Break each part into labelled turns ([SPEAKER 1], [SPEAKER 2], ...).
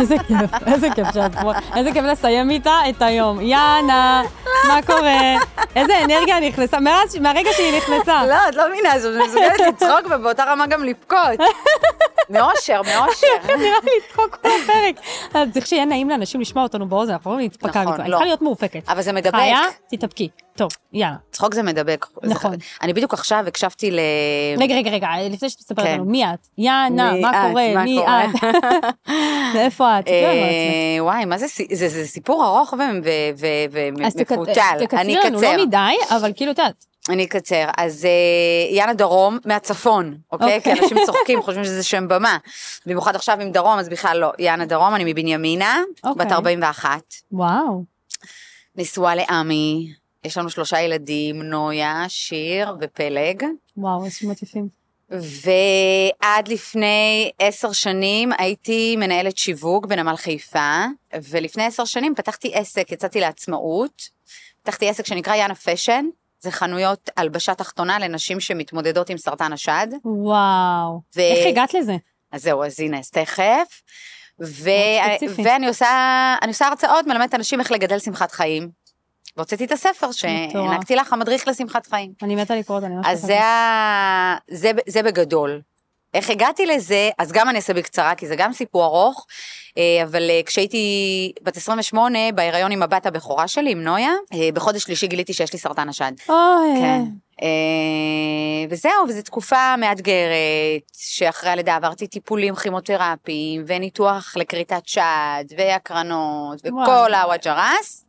[SPEAKER 1] איזה כיף, איזה כיף שהפרוע, איזה כיף לסיים איתה את היום. יאנה, מה קורה? איזה אנרגיה נכנסה, מאז- מהרגע שהיא נכנסה.
[SPEAKER 2] לא, את לא מבינה, זאת מסוגלת לצחוק ובאותה רמה גם לבכות. מאושר, מאושר.
[SPEAKER 1] נראה לי צחוק כל הפרק. אז צריך שיהיה נעים לאנשים לשמוע אותנו באוזן, אנחנו לא נתפקע
[SPEAKER 2] נכון,
[SPEAKER 1] מפה. אני
[SPEAKER 2] לא.
[SPEAKER 1] צריכה להיות מאופקת.
[SPEAKER 2] אבל זה מדבק.
[SPEAKER 1] חיה, תתאפקי. טוב, יאללה.
[SPEAKER 2] צחוק זה מדבק. זה
[SPEAKER 1] נכון.
[SPEAKER 2] ח- אני בדיוק עכשיו הקשבתי ל...
[SPEAKER 1] רגע, רגע, רגע, לפני שתספרת
[SPEAKER 2] כן.
[SPEAKER 1] לנו, מי את? יאנה,
[SPEAKER 2] מי
[SPEAKER 1] מה
[SPEAKER 2] את?
[SPEAKER 1] קורה?
[SPEAKER 2] מה
[SPEAKER 1] מי
[SPEAKER 2] קורה?
[SPEAKER 1] את? ואיפה את? תספרי לנו על עצמך.
[SPEAKER 2] אה, וואי, מה זה, סי- זה, זה סיפור ארוך
[SPEAKER 1] אז תקצ-
[SPEAKER 2] ומפותל.
[SPEAKER 1] תקצרי
[SPEAKER 2] אה, אני
[SPEAKER 1] לנו, לא
[SPEAKER 2] אקצר,
[SPEAKER 1] מדי, אבל כאילו, את יודעת.
[SPEAKER 2] אני אקצר. אז אה, יאנה דרום מהצפון, אוקיי? כי
[SPEAKER 1] אוקיי.
[SPEAKER 2] אנשים צוחקים, חושבים שזה שם במה. במיוחד עכשיו עם דרום, אז בכלל לא. יאנה דרום, אני מבנימינה,
[SPEAKER 1] אוקיי.
[SPEAKER 2] בת 41,
[SPEAKER 1] וואו.
[SPEAKER 2] נשואה לעמי, יש לנו שלושה ילדים, נויה, שיר ופלג.
[SPEAKER 1] וואו, איזה שמות יפים.
[SPEAKER 2] ועד לפני עשר שנים הייתי מנהלת שיווק בנמל חיפה, ולפני עשר שנים פתחתי עסק, יצאתי לעצמאות, פתחתי עסק שנקרא יאנה פשן, זה חנויות הלבשה תחתונה לנשים שמתמודדות עם סרטן השד.
[SPEAKER 1] וואו.
[SPEAKER 2] ו...
[SPEAKER 1] איך הגעת לזה?
[SPEAKER 2] אז זהו, אז הנה, אז תכף. ו...
[SPEAKER 1] מאוד ספציפי.
[SPEAKER 2] ואני עושה, אני עושה הרצאות, מלמדת אנשים איך לגדל שמחת חיים. והוצאתי את הספר שהענקתי לך, המדריך לשמחת חיים.
[SPEAKER 1] אני מתה לקרוא אותה, אני ממש
[SPEAKER 2] אז
[SPEAKER 1] אוהבת.
[SPEAKER 2] זה, ה... זה, זה בגדול. איך הגעתי לזה, אז גם אני אעשה בקצרה, כי זה גם סיפור ארוך, אה, אבל אה, כשהייתי בת 28, בהיריון עם הבת הבכורה שלי, עם נויה, אה, בחודש שלישי גיליתי שיש לי סרטן השד.
[SPEAKER 1] אוי,
[SPEAKER 2] כן.
[SPEAKER 1] אוי.
[SPEAKER 2] אה, וזהו, וזו תקופה מאתגרת, שאחרי הלידה עברתי טיפולים כימותרפיים, וניתוח לכריתת שד, והקרנות,
[SPEAKER 1] וואי.
[SPEAKER 2] וכל הוואג'רס.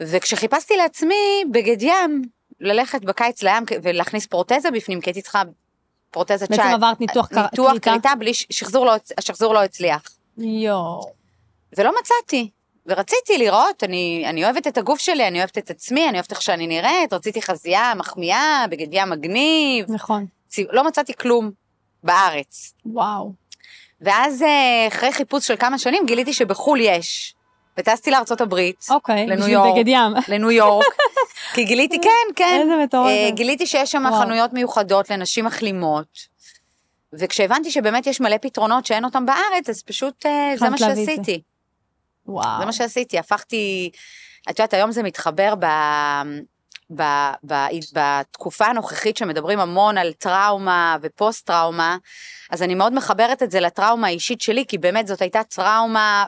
[SPEAKER 2] וכשחיפשתי לעצמי בגד ים, ללכת בקיץ לים כ- ולהכניס פרוטזה בפנים, כי הייתי צריכה פרוטזת שד.
[SPEAKER 1] בעצם עברת ניתוח קר-
[SPEAKER 2] אה, ניתוח
[SPEAKER 1] קליטה?
[SPEAKER 2] כריתה בלי, ש- שחזור לא, הצ- השחזור לא הצליח.
[SPEAKER 1] יואו.
[SPEAKER 2] ולא מצאתי. ורציתי לראות, אני, אני אוהבת את הגוף שלי, אני אוהבת את עצמי, אני אוהבת איך שאני נראית, רציתי חזייה, מחמיאה, בגד ים מגניב,
[SPEAKER 1] נכון.
[SPEAKER 2] צי- לא מצאתי כלום בארץ.
[SPEAKER 1] וואו.
[SPEAKER 2] ואז אה, אחרי חיפוש של כמה שנים גיליתי שבחו"ל יש. וטסתי לארצות הברית,
[SPEAKER 1] אוקיי,
[SPEAKER 2] לניו
[SPEAKER 1] בשביל
[SPEAKER 2] יורק.
[SPEAKER 1] בגד ים.
[SPEAKER 2] לניו יורק, כי גיליתי, כן, כן,
[SPEAKER 1] איזה מטורף.
[SPEAKER 2] אה, גיליתי שיש שם
[SPEAKER 1] וואו.
[SPEAKER 2] חנויות מיוחדות לנשים מחלימות. וכשהבנתי שבאמת יש מלא פתרונות שאין אותם בארץ, אז פשוט אה, זה
[SPEAKER 1] התחלת
[SPEAKER 2] מה
[SPEAKER 1] להביא את זה.
[SPEAKER 2] שעשיתי.
[SPEAKER 1] וואו.
[SPEAKER 2] זה מה שעשיתי, הפכתי, את יודעת, היום זה מתחבר ב... ב, ב, בתקופה הנוכחית שמדברים המון על טראומה ופוסט-טראומה, אז אני מאוד מחברת את זה לטראומה האישית שלי, כי באמת זאת הייתה טראומה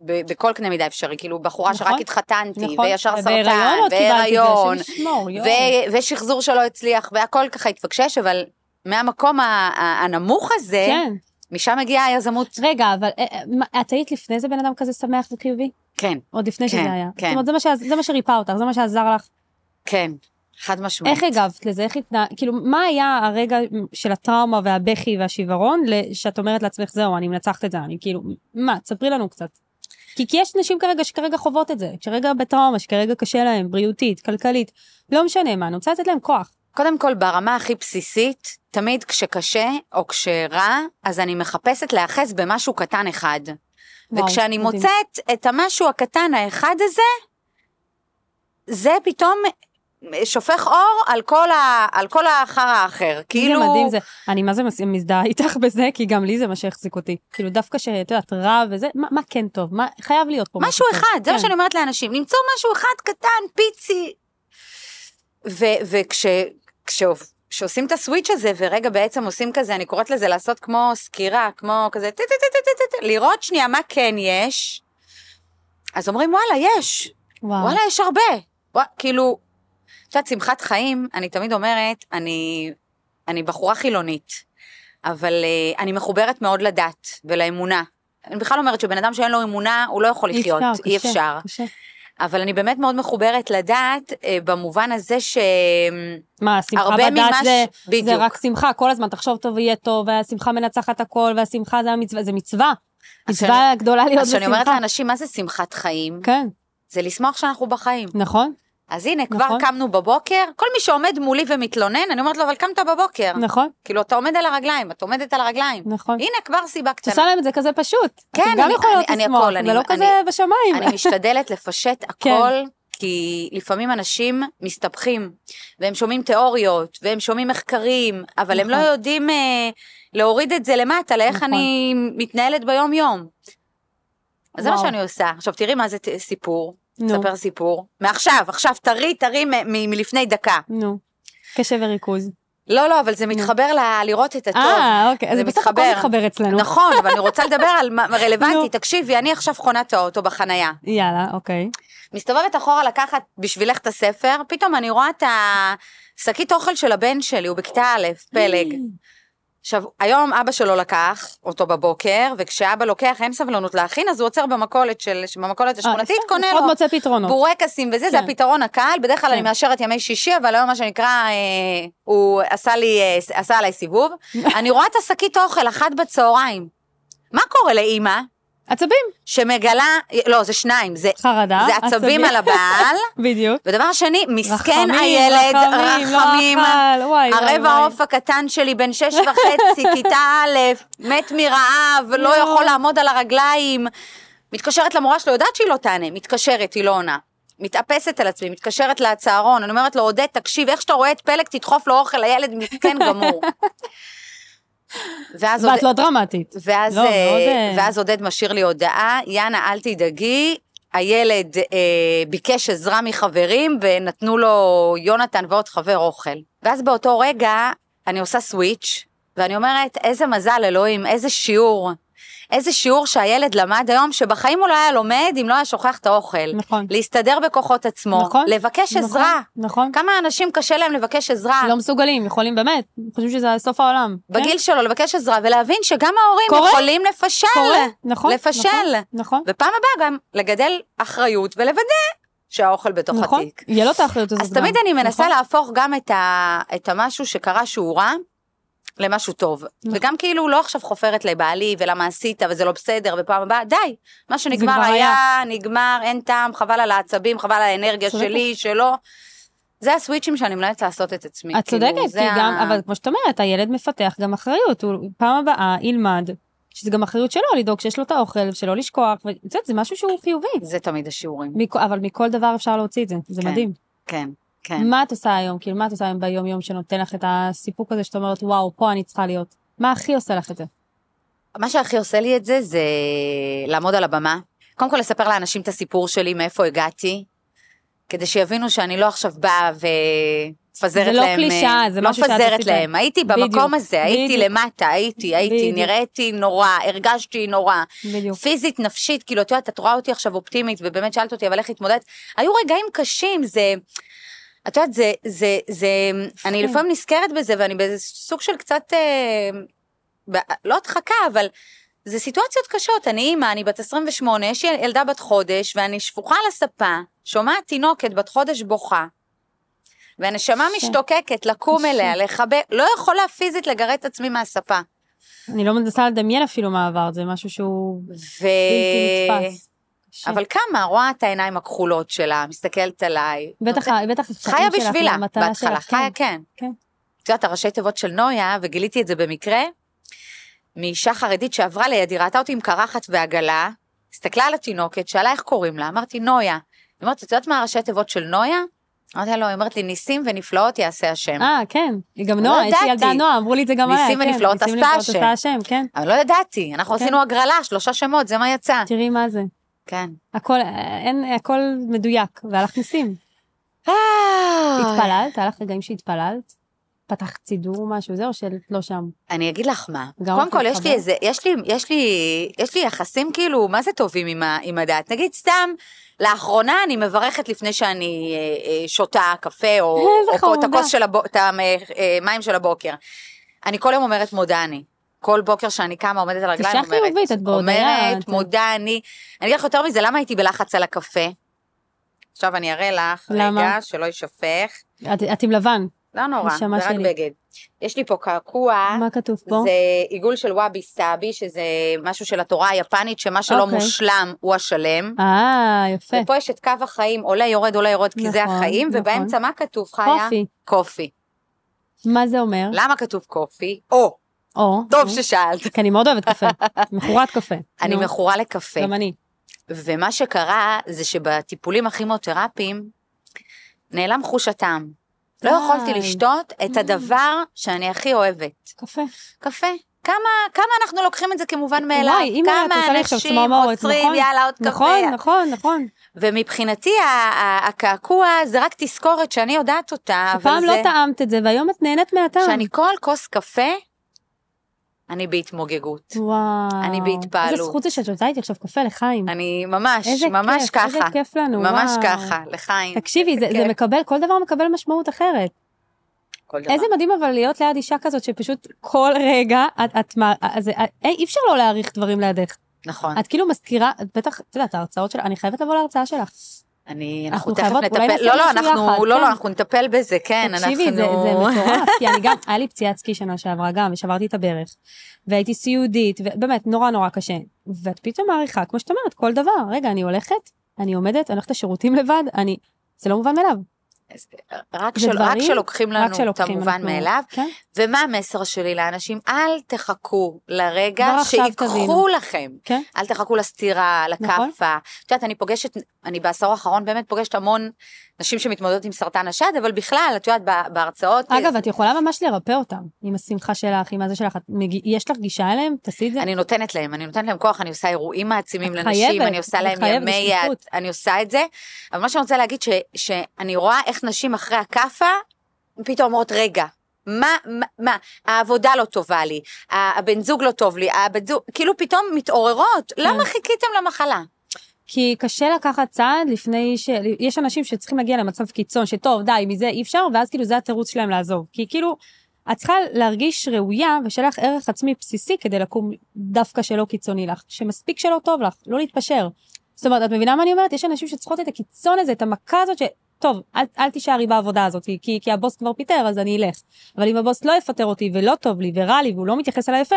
[SPEAKER 2] ב, בכל קנה מידה אפשרי, כאילו בחורה
[SPEAKER 1] נכון.
[SPEAKER 2] שרק התחתנתי,
[SPEAKER 1] נכון.
[SPEAKER 2] וישר סרטן,
[SPEAKER 1] ובהיריון עוד קיבלתי
[SPEAKER 2] והיריון,
[SPEAKER 1] את זה, השם ישמור, יואו.
[SPEAKER 2] ו- ושחזור שלא הצליח, והכל ככה התפקשש, אבל מהמקום ה- ה- הנמוך הזה,
[SPEAKER 1] כן.
[SPEAKER 2] משם הגיעה היזמות.
[SPEAKER 1] רגע, אבל אה, אה, מה, את היית לפני זה בן אדם כזה שמח וחיובי?
[SPEAKER 2] כן,
[SPEAKER 1] עוד לפני
[SPEAKER 2] כן,
[SPEAKER 1] שזה היה.
[SPEAKER 2] כן.
[SPEAKER 1] זאת אומרת, זה מה שעז- זה מה שריפא אותך, זה מה שעזר לך.
[SPEAKER 2] כן, חד משמעית.
[SPEAKER 1] איך הגבת לזה? איך התנא... כאילו, מה היה הרגע של הטראומה והבכי והשיוורון, ל- שאת אומרת לעצמך, זהו, אני מנצחת את זה, אני כאילו, מה, תספרי לנו קצת. כי, כי יש נשים כרגע שכרגע חוות את זה, שכרגע בטראומה, שכרגע קשה להם, בריאותית, כלכלית, לא משנה מה, אני רוצה לתת להם כוח.
[SPEAKER 2] קודם כל, ברמה הכי בסיסית, תמיד כשקשה או כשרע, אז אני מחפשת להיאחז במשהו קטן אחד.
[SPEAKER 1] וואו,
[SPEAKER 2] וכשאני
[SPEAKER 1] מדהים.
[SPEAKER 2] מוצאת את המשהו הקטן האחד הזה, זה פתאום שופך אור על כל, ה, על כל האחר האחר. כאילו...
[SPEAKER 1] זה מדהים זה, אני מה זה מס- מזדהה איתך בזה, כי גם לי זה מה שהחזיק אותי. כאילו, דווקא שאת יודעת, רע וזה, מה, מה כן טוב? מה, חייב להיות פה
[SPEAKER 2] משהו
[SPEAKER 1] טוב.
[SPEAKER 2] אחד, זה מה
[SPEAKER 1] כן.
[SPEAKER 2] שאני אומרת לאנשים, למצוא משהו אחד קטן, פיצי. וכשעושים את הסוויץ' הזה, ורגע בעצם עושים כזה, אני קוראת לזה לעשות כמו סקירה, כמו כזה, טה, טה, טה, טה, טה, טה, לראות שנייה מה כן יש, אז אומרים וואלה, יש,
[SPEAKER 1] וואו,
[SPEAKER 2] וואלה, יש הרבה. ווא, כאילו, את יודעת, שמחת חיים, אני תמיד אומרת, אני, אני בחורה חילונית, אבל אה, אני מחוברת מאוד לדת ולאמונה. אני בכלל אומרת שבן אדם שאין לו אמונה, הוא לא יכול
[SPEAKER 1] אי
[SPEAKER 2] לחיות,
[SPEAKER 1] אפשר,
[SPEAKER 2] אי
[SPEAKER 1] קשה,
[SPEAKER 2] אפשר.
[SPEAKER 1] קשה.
[SPEAKER 2] אבל אני באמת מאוד מחוברת לדת, אה, במובן הזה ש...
[SPEAKER 1] מה, השמחה
[SPEAKER 2] הרבה
[SPEAKER 1] בדת
[SPEAKER 2] ממה ש-
[SPEAKER 1] זה, זה
[SPEAKER 2] בדיוק.
[SPEAKER 1] רק שמחה, כל הזמן תחשוב טוב יהיה טוב, והשמחה מנצחת הכל, והשמחה זה המצווה, זה מצווה.
[SPEAKER 2] אז
[SPEAKER 1] מצווה גדולה להיות
[SPEAKER 2] אז כשאני אומרת
[SPEAKER 1] בשמחה.
[SPEAKER 2] לאנשים, מה זה שמחת חיים?
[SPEAKER 1] כן,
[SPEAKER 2] זה לשמוח שאנחנו בחיים.
[SPEAKER 1] נכון,
[SPEAKER 2] אז הנה, כבר
[SPEAKER 1] נכון.
[SPEAKER 2] קמנו בבוקר, כל מי שעומד מולי ומתלונן, אני אומרת לו, אבל קמת בבוקר.
[SPEAKER 1] נכון,
[SPEAKER 2] כאילו, אתה עומד על הרגליים, את עומדת על הרגליים.
[SPEAKER 1] נכון.
[SPEAKER 2] הנה, כבר סיבה
[SPEAKER 1] את
[SPEAKER 2] קטנה.
[SPEAKER 1] עושה להם את זה כזה פשוט.
[SPEAKER 2] כן,
[SPEAKER 1] אתם גם
[SPEAKER 2] אני-
[SPEAKER 1] יכולות
[SPEAKER 2] אני- אני
[SPEAKER 1] לשמוח,
[SPEAKER 2] הכל, אני-
[SPEAKER 1] זה לא
[SPEAKER 2] אני-
[SPEAKER 1] כזה בשמיים.
[SPEAKER 2] אני משתדלת לפשט הכל,
[SPEAKER 1] כן.
[SPEAKER 2] כי לפעמים אנשים מסתבכים, והם שומעים תיאוריות, והם שומעים מחקרים, אבל הם לא
[SPEAKER 1] נכון.
[SPEAKER 2] יודעים אה, להוריד את זה למטה, לאיך
[SPEAKER 1] נכון.
[SPEAKER 2] אני מתנהלת ביום-יום. אז זה מה
[SPEAKER 1] וואו.
[SPEAKER 2] שאני עושה. עכשיו תראי מה זה ת- סיפור,
[SPEAKER 1] נו,
[SPEAKER 2] ספר סיפור. מעכשיו, עכשיו, טרי, טרי מ- מ- מלפני דקה.
[SPEAKER 1] נו. קשב וריכוז.
[SPEAKER 2] לא, לא, אבל זה מתחבר ל- לראות את הטוב.
[SPEAKER 1] אה, אוקיי, אז
[SPEAKER 2] זה
[SPEAKER 1] בסוף הכל
[SPEAKER 2] מתחבר.
[SPEAKER 1] מתחבר אצלנו.
[SPEAKER 2] נכון, אבל אני רוצה לדבר על מה מה רלוונטי.
[SPEAKER 1] נו.
[SPEAKER 2] תקשיבי, אני עכשיו חונת האוטו בחנייה.
[SPEAKER 1] יאללה, אוקיי.
[SPEAKER 2] מסתובבת אחורה לקחת בשבילך את הספר, פתאום אני רואה את השקית אוכל של הבן שלי, הוא בכיתה א',
[SPEAKER 1] אה,
[SPEAKER 2] פלג. עכשיו, היום אבא שלו לקח אותו בבוקר, וכשאבא לוקח אין סבלנות להכין, אז הוא עוצר במכולת של, במכולת השכונתית,
[SPEAKER 1] אה,
[SPEAKER 2] קונה
[SPEAKER 1] לפחות
[SPEAKER 2] לו
[SPEAKER 1] מוצא פתרונות.
[SPEAKER 2] בורקסים וזה, זה
[SPEAKER 1] כן.
[SPEAKER 2] הפתרון הקל, בדרך כלל
[SPEAKER 1] כן.
[SPEAKER 2] אני מאשרת ימי שישי, אבל היום מה שנקרא, אה, הוא עשה לי, אה, עשה עליי סיבוב. אני רואה את השקית אוכל, אחת בצהריים. מה קורה לאימא
[SPEAKER 1] עצבים.
[SPEAKER 2] שמגלה, לא, זה שניים, זה,
[SPEAKER 1] חרדה.
[SPEAKER 2] זה עצבים על הבעל,
[SPEAKER 1] בדיוק.
[SPEAKER 2] ודבר שני, מסכן
[SPEAKER 1] רחמים,
[SPEAKER 2] הילד,
[SPEAKER 1] רחמים, לא
[SPEAKER 2] רחמים,
[SPEAKER 1] אכל, וואי, וואי,
[SPEAKER 2] הרבע
[SPEAKER 1] וואי.
[SPEAKER 2] העוף הקטן שלי, בן שש וחצי, כיתה א', מת מרעב, לא
[SPEAKER 1] יואו.
[SPEAKER 2] יכול לעמוד על הרגליים. מתקשרת למורה שלו, יודעת שהיא לא תענה, מתקשרת, היא לא עונה. מתאפסת על עצמי, מתקשרת לצהרון, אני אומרת לו, עודד, תקשיב, איך שאתה רואה את פלג, תדחוף לו אוכל, הילד מסכן גמור. ואז עודד-
[SPEAKER 1] ואת לא דרמטית.
[SPEAKER 2] ואז,
[SPEAKER 1] לא,
[SPEAKER 2] לא,
[SPEAKER 1] מאוד, אה,
[SPEAKER 2] ואז עודד משאיר לי הודעה, יאנה, אל תדאגי, הילד אה, ביקש עזרה מחברים ונתנו לו יונתן ועוד חבר אוכל. ואז באותו רגע אני עושה סוויץ', ואני אומרת, איזה מזל, אלוהים, איזה שיעור. איזה שיעור שהילד למד היום, שבחיים הוא לא היה לומד אם לא היה שוכח את האוכל.
[SPEAKER 1] נכון.
[SPEAKER 2] להסתדר בכוחות עצמו,
[SPEAKER 1] נכון,
[SPEAKER 2] לבקש
[SPEAKER 1] נכון,
[SPEAKER 2] עזרה.
[SPEAKER 1] נכון.
[SPEAKER 2] כמה אנשים קשה להם לבקש עזרה.
[SPEAKER 1] לא מסוגלים, יכולים באמת, חושבים שזה סוף העולם.
[SPEAKER 2] אה.
[SPEAKER 1] כן,
[SPEAKER 2] בגיל שלו לבקש עזרה ולהבין שגם ההורים
[SPEAKER 1] קורה.
[SPEAKER 2] יכולים לפשל.
[SPEAKER 1] כן? קורה, נכון.
[SPEAKER 2] לפשל.
[SPEAKER 1] נכון, נכון.
[SPEAKER 2] ופעם הבאה גם לגדל אחריות ולוודא שהאוכל בתוך
[SPEAKER 1] נכון.
[SPEAKER 2] התיק.
[SPEAKER 1] יהיה לו את האחריות הזאת.
[SPEAKER 2] אז
[SPEAKER 1] גם.
[SPEAKER 2] תמיד אני מנסה
[SPEAKER 1] נכון.
[SPEAKER 2] להפוך גם את, ה, את המשהו שקרה שהוא רע למשהו טוב.
[SPEAKER 1] נכון.
[SPEAKER 2] וגם כאילו לא עכשיו חופרת לבעלי ולמה עשית וזה לא בסדר ופעם הבאה, די. מה שנגמר
[SPEAKER 1] כבר
[SPEAKER 2] היה,
[SPEAKER 1] היה.
[SPEAKER 2] נגמר, אין טעם, חבל על העצבים, חבל על האנרגיה
[SPEAKER 1] צודקת.
[SPEAKER 2] שלי, שלו. זה הסוויצ'ים שאני מנהלת לעשות את עצמי.
[SPEAKER 1] את צודקת,
[SPEAKER 2] כאילו, זה
[SPEAKER 1] כי
[SPEAKER 2] ה-
[SPEAKER 1] גם, אבל כמו שאת אומרת, הילד מפתח גם אחריות, הוא פעם הבאה ילמד, שזה גם אחריות שלו לדאוג שיש לו את האוכל, שלא לשכוח, ואת יודעת, זה משהו שהוא חיובי.
[SPEAKER 2] זה תמיד השיעורים.
[SPEAKER 1] מכ- אבל מכל דבר אפשר להוציא את זה, זה
[SPEAKER 2] כן,
[SPEAKER 1] מדהים.
[SPEAKER 2] כן, כן.
[SPEAKER 1] מה את עושה היום? כאילו, מה את עושה היום ביום-יום שנותן לך את הסיפוק הזה שאת אומרת, וואו, פה אני צריכה להיות? מה הכי עושה לך את זה?
[SPEAKER 2] מה שהכי עושה לי את זה, זה לעמוד על הבמה. קודם כל לספר לאנשים את הסיפור שלי, מאיפה הגעתי, כדי שיבינו שאני לא עכשיו באה ומפזרת
[SPEAKER 1] זה
[SPEAKER 2] להם...
[SPEAKER 1] לא קלישאה, זה
[SPEAKER 2] לא
[SPEAKER 1] משהו שאת
[SPEAKER 2] מפזרת
[SPEAKER 1] עשית
[SPEAKER 2] להם. הייתי במקום
[SPEAKER 1] בדיוק,
[SPEAKER 2] הזה, הייתי
[SPEAKER 1] בדיוק.
[SPEAKER 2] למטה, הייתי, הייתי,
[SPEAKER 1] בדיוק.
[SPEAKER 2] נראיתי נורא, הרגשתי נורא.
[SPEAKER 1] בדיוק.
[SPEAKER 2] פיזית, נפשית, כאילו, את יודעת, את רואה אותי עכשיו אופטימית, ובאמת שאלת אותי, אבל איך התמודדת? היו רגעים קשים, זה... את יודעת, זה, זה, זה, אני
[SPEAKER 1] כן.
[SPEAKER 2] לפעמים נזכרת בזה, ואני באיזה סוג של קצת, אה, ב- לא הדחקה, אבל זה סיטואציות קשות. אני אימא, אני בת 28, יש לי ילדה בת חודש, ואני שפוכה על הספה, שומעת תינוקת בת חודש בוכה, והנשמה
[SPEAKER 1] קשה.
[SPEAKER 2] משתוקקת לקום
[SPEAKER 1] קשה.
[SPEAKER 2] אליה, לחבק, לא יכולה פיזית לגרד את עצמי מהספה.
[SPEAKER 1] אני לא מנסה לדמיין אפילו מה עברת, זה משהו שהוא
[SPEAKER 2] ו...
[SPEAKER 1] בלתי נתפס. קשה.
[SPEAKER 2] אה, אבל כמה, רואה את העיניים הכחולות שלה, מסתכלת עליי.
[SPEAKER 1] בטח,
[SPEAKER 2] נותנת-
[SPEAKER 1] בטח החיים
[SPEAKER 2] חיה
[SPEAKER 1] שלך,
[SPEAKER 2] בשבילה,
[SPEAKER 1] המתנה
[SPEAKER 2] בהתחלה
[SPEAKER 1] שלך,
[SPEAKER 2] חיה,
[SPEAKER 1] כן.
[SPEAKER 2] כן.
[SPEAKER 1] כן.
[SPEAKER 2] את יודעת, הראשי תיבות של נויה, וגיליתי את זה במקרה, מאישה חרדית שעברה לידי, ראתה אותי עם קרחת ועגלה, הסתכלה על התינוקת, שאלה איך קוראים לה, אמרתי, נויה. היא אמרת, את יודעת מה הראשי תיבות של נויה? אמרתי לה, לא, היא אומרת לי, ניסים ונפלאות יעשה השם.
[SPEAKER 1] אה, כן. היא גם
[SPEAKER 2] לא
[SPEAKER 1] נועה, יש לי ילדה
[SPEAKER 2] ידעתי.
[SPEAKER 1] נועה, אמרו לי את זה גם עליה.
[SPEAKER 2] ניסים
[SPEAKER 1] כן,
[SPEAKER 2] ונפלאות
[SPEAKER 1] ניסים
[SPEAKER 2] עשתה
[SPEAKER 1] ונפלאות
[SPEAKER 2] השם.
[SPEAKER 1] עשתה השם, כן.
[SPEAKER 2] אבל לא ידעתי, אנחנו
[SPEAKER 1] כן.
[SPEAKER 2] עשינו הגרלה, שלושה שמות, זה מה יצא.
[SPEAKER 1] תראי מה זה.
[SPEAKER 2] כן.
[SPEAKER 1] הכל, אה, אין, הכל מדויק, והלך ניסים.
[SPEAKER 2] אה, התפלא.
[SPEAKER 1] התפללת? היה לך רגעים שהתפללת? פתחת סידור משהו, זה או שאת לא שם?
[SPEAKER 2] אני אגיד לך מה,
[SPEAKER 1] גם
[SPEAKER 2] קודם
[SPEAKER 1] לך
[SPEAKER 2] כל יש
[SPEAKER 1] מתחבר?
[SPEAKER 2] לי איזה, יש לי, יש לי, יש לי יחסים כאילו, מה זה טובים עם, ה, עם הדת? נגיד סתם, לאחרונה אני מברכת לפני שאני אה, אה, שותה קפה, או,
[SPEAKER 1] איזה
[SPEAKER 2] או פה את
[SPEAKER 1] חמודה.
[SPEAKER 2] הכוס של הבוקר, את המים של הבוקר. אני כל יום אומרת מודה אני. כל בוקר שאני קמה עומדת על הרגליים,
[SPEAKER 1] אישה
[SPEAKER 2] אומרת,
[SPEAKER 1] חיובית, את בהודיה.
[SPEAKER 2] אומרת
[SPEAKER 1] את-
[SPEAKER 2] מודה אני. אני אגיד לך יותר מזה, למה הייתי בלחץ על הקפה? עכשיו אני אראה לך, רגע,
[SPEAKER 1] למה?
[SPEAKER 2] שלא יישפך.
[SPEAKER 1] את- את עם לבן,
[SPEAKER 2] לא נורא, זה
[SPEAKER 1] נשמה
[SPEAKER 2] רק
[SPEAKER 1] שלי.
[SPEAKER 2] בגד. יש לי פה קעקוע.
[SPEAKER 1] מה כתוב פה?
[SPEAKER 2] אה, זה עיגול של וואבי סאבי, שזה משהו של התורה היפנית, שמה שלא
[SPEAKER 1] אוקיי.
[SPEAKER 2] מושלם הוא השלם.
[SPEAKER 1] אה, יפה.
[SPEAKER 2] ופה יש את קו החיים, עולה, יורד, עולה, יורד, כי זה
[SPEAKER 1] נכון,
[SPEAKER 2] החיים,
[SPEAKER 1] נכון.
[SPEAKER 2] ובאמצע מה כתוב חיה?
[SPEAKER 1] קופי. אה.
[SPEAKER 2] קופי.
[SPEAKER 1] מה זה אומר?
[SPEAKER 2] למה כתוב קופי? או,
[SPEAKER 1] או.
[SPEAKER 2] לא. טוב
[SPEAKER 1] נו.
[SPEAKER 2] ששאלת.
[SPEAKER 1] כי אני מאוד אוהבת קפה. מכורת קפה.
[SPEAKER 2] אני
[SPEAKER 1] אוקיי. נו,
[SPEAKER 2] מכורה לקפה.
[SPEAKER 1] גם אני.
[SPEAKER 2] ומה שקרה זה שבטיפולים הכימותרפיים נעלם חוש הטעם. לא
[SPEAKER 1] די.
[SPEAKER 2] יכולתי לשתות את הדבר שאני הכי אוהבת.
[SPEAKER 1] קפה.
[SPEAKER 2] קפה. כמה, כמה אנחנו לוקחים את זה כמובן מאליו?
[SPEAKER 1] וואי, אימא, את עושה
[SPEAKER 2] כמה
[SPEAKER 1] לי עכשיו
[SPEAKER 2] אנשים
[SPEAKER 1] צמרמורת,
[SPEAKER 2] עוצרים,
[SPEAKER 1] נכון.
[SPEAKER 2] יאללה, עוד
[SPEAKER 1] נכון,
[SPEAKER 2] קפה.
[SPEAKER 1] נכון, נכון.
[SPEAKER 2] ומבחינתי ה- ה- הקעקוע זה רק תזכורת שאני יודעת אותה, אבל
[SPEAKER 1] פעם
[SPEAKER 2] זה
[SPEAKER 1] לא טעמת את זה, והיום את נהנית מהטעם.
[SPEAKER 2] שאני כל כוס קפה, אני בהתמוגגות.
[SPEAKER 1] וואו.
[SPEAKER 2] אני בהתפעלות.
[SPEAKER 1] איזה זכות זה שאת נותנת לי עכשיו קפה לחיים.
[SPEAKER 2] אני ממש,
[SPEAKER 1] איזה
[SPEAKER 2] ממש
[SPEAKER 1] כיף,
[SPEAKER 2] ככה.
[SPEAKER 1] איזה כיף לנו,
[SPEAKER 2] ממש
[SPEAKER 1] וואו. אוקיי.
[SPEAKER 2] ככה, לחיים.
[SPEAKER 1] תקשיבי, זה, זה
[SPEAKER 2] כיף.
[SPEAKER 1] מקבל, כל דבר מקבל משמעות אחרת.
[SPEAKER 2] כל דבר.
[SPEAKER 1] איזה מדהים אבל להיות ליד אישה כזאת שפשוט כל רגע, את, את, מה- אז, אה, אי אפשר לא להעריך דברים לידך.
[SPEAKER 2] נכון.
[SPEAKER 1] את כאילו מזכירה, את בטח, את יודעת, ההרצאות שלך, אני חייבת לבוא להרצאה שלך.
[SPEAKER 2] אני,
[SPEAKER 1] אנחנו
[SPEAKER 2] אנחנו תכף
[SPEAKER 1] חייבות, אולי
[SPEAKER 2] נטפל,
[SPEAKER 1] נעשה
[SPEAKER 2] לא, לא,
[SPEAKER 1] משהו יחד,
[SPEAKER 2] אנחנו, לא,
[SPEAKER 1] כן.
[SPEAKER 2] לא, אנחנו נטפל בזה, כן, אנחנו...
[SPEAKER 1] תקשיבי, זה, זה מטורף, כי אני גם, היה לי פציעת סקי שנה שעברה גם, ושברתי את הברך, והייתי סיעודית, ובאמת, נורא נורא קשה. ואת פתאום מעריכה, כמו שאת אומרת, כל דבר, רגע, אני הולכת, אני עומדת, אני הולכת לשירותים לבד, אני, זה לא מובן מאליו,
[SPEAKER 2] אז רק
[SPEAKER 1] זה
[SPEAKER 2] של- רק
[SPEAKER 1] דברים,
[SPEAKER 2] שלוקחים
[SPEAKER 1] רק
[SPEAKER 2] לנו את
[SPEAKER 1] שלוקחים.
[SPEAKER 2] המובן
[SPEAKER 1] אנחנו-
[SPEAKER 2] מאליו,
[SPEAKER 1] כן?
[SPEAKER 2] ומה המסר שלי לאנשים? אל תחכו לרגע
[SPEAKER 1] כבר לא עכשיו
[SPEAKER 2] שיקחו
[SPEAKER 1] תבינו.
[SPEAKER 2] לכם.
[SPEAKER 1] כן.
[SPEAKER 2] אל תחכו לסטירה,
[SPEAKER 1] נכון.
[SPEAKER 2] לכאפה. את יודעת, אני פוגשת, אני בעשור האחרון באמת פוגשת המון נשים שמתמודדות עם סרטן השד, אבל בכלל, את יודעת, ב- בהרצאות...
[SPEAKER 1] אגב, את יכולה ממש לרפא אותם, עם השמחה שלך, עם הזה שלך, את מגיע- יש לך גישה אליהם, תעשי את זה.
[SPEAKER 2] אני נותנת להם, אני נותנת להם כוח, אני עושה אירועים מעצימים
[SPEAKER 1] את
[SPEAKER 2] לנשים,
[SPEAKER 1] חייבת,
[SPEAKER 2] אני עושה
[SPEAKER 1] את
[SPEAKER 2] להם
[SPEAKER 1] חייבת,
[SPEAKER 2] ימי יד,
[SPEAKER 1] בשליחות.
[SPEAKER 2] אני עושה את זה. אבל מה שאני רוצה להגיד, ש, שאני רואה איך נשים אחרי הכאפה, פתאום אומרות, רגע, מה, מה, מה, העבודה לא טובה לי, ה- הבן זוג לא טוב לי, הבן זוג, כאילו פתאום מתעוררות,
[SPEAKER 1] כן.
[SPEAKER 2] למה חיכיתם למחלה?
[SPEAKER 1] כי קשה לקחת צעד לפני ש... יש אנשים שצריכים להגיע למצב קיצון, שטוב, די, מזה אי אפשר, ואז כאילו זה התירוץ שלהם לעזוב. כי כאילו, את צריכה להרגיש ראויה ושיהיה לך ערך עצמי בסיסי כדי לקום דווקא שלא קיצוני לך, שמספיק שלא טוב לך, לא להתפשר. זאת אומרת, את מבינה מה אני אומרת? יש אנשים שצריכות את הקיצון הזה, את המכה הזאת, ש... טוב, אל, אל תישארי בעבודה הזאת, כי, כי הבוס כבר פיטר, אז אני אלך. אבל אם הבוס לא יפטר אותי, ולא טוב לי, ורע לי, והוא לא מתייחס אליי יפה,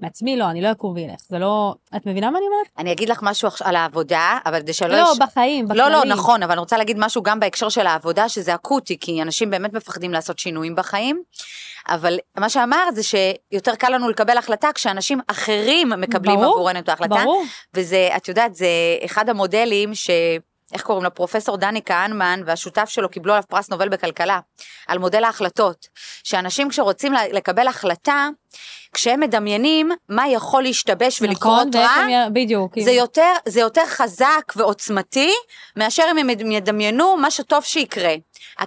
[SPEAKER 1] מעצמי לא, אני לא אקום ואלך. זה לא... את מבינה מה אני אומרת?
[SPEAKER 2] אני אגיד לך משהו עכשיו על העבודה, אבל כדי שלא...
[SPEAKER 1] לא,
[SPEAKER 2] יש-
[SPEAKER 1] בחיים, בכללי.
[SPEAKER 2] לא, לא, נכון, אבל אני רוצה להגיד משהו גם בהקשר של העבודה, שזה אקוטי, כי אנשים באמת מפחדים לעשות שינויים בחיים. אבל מה שאמרת זה שיותר קל לנו לקבל החלטה כשאנשים אחרים מקבלים
[SPEAKER 1] ברור,
[SPEAKER 2] עבורנו את ההחלטה.
[SPEAKER 1] ברור.
[SPEAKER 2] וזה, את יודעת, זה אחד המודלים ש... איך קוראים לו? פרופסור דני כהנמן והשותף שלו קיבלו עליו פרס נובל בכלכלה, על מודל ההחלטות. שאנשים כשרוצים ל- לקבל החלטה, כשהם מדמיינים מה יכול להשתבש ולקרות
[SPEAKER 1] נכון,
[SPEAKER 2] רע,
[SPEAKER 1] בעצם י- בדיוק.
[SPEAKER 2] אה? זה
[SPEAKER 1] אם-
[SPEAKER 2] יותר, זה יותר חזק ועוצמתי מאשר אם הם ידמיינו מה שטוב שיקרה.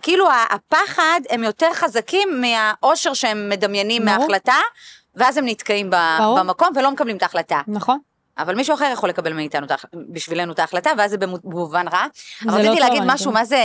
[SPEAKER 2] כאילו ה- הפחד הם יותר חזקים מהאושר שהם מדמיינים
[SPEAKER 1] ברור.
[SPEAKER 2] מההחלטה, ואז הם נתקעים ב-
[SPEAKER 1] ברור.
[SPEAKER 2] במקום ולא מקבלים את ההחלטה.
[SPEAKER 1] נכון.
[SPEAKER 2] אבל מישהו אחר יכול לקבל מאיתנו, את ההח- בשבילנו את ההחלטה, ואז זה במו- במובן רע.
[SPEAKER 1] זה
[SPEAKER 2] אבל
[SPEAKER 1] לא
[SPEAKER 2] רציתי
[SPEAKER 1] טוב,
[SPEAKER 2] להגיד
[SPEAKER 1] אני
[SPEAKER 2] משהו, מה זה,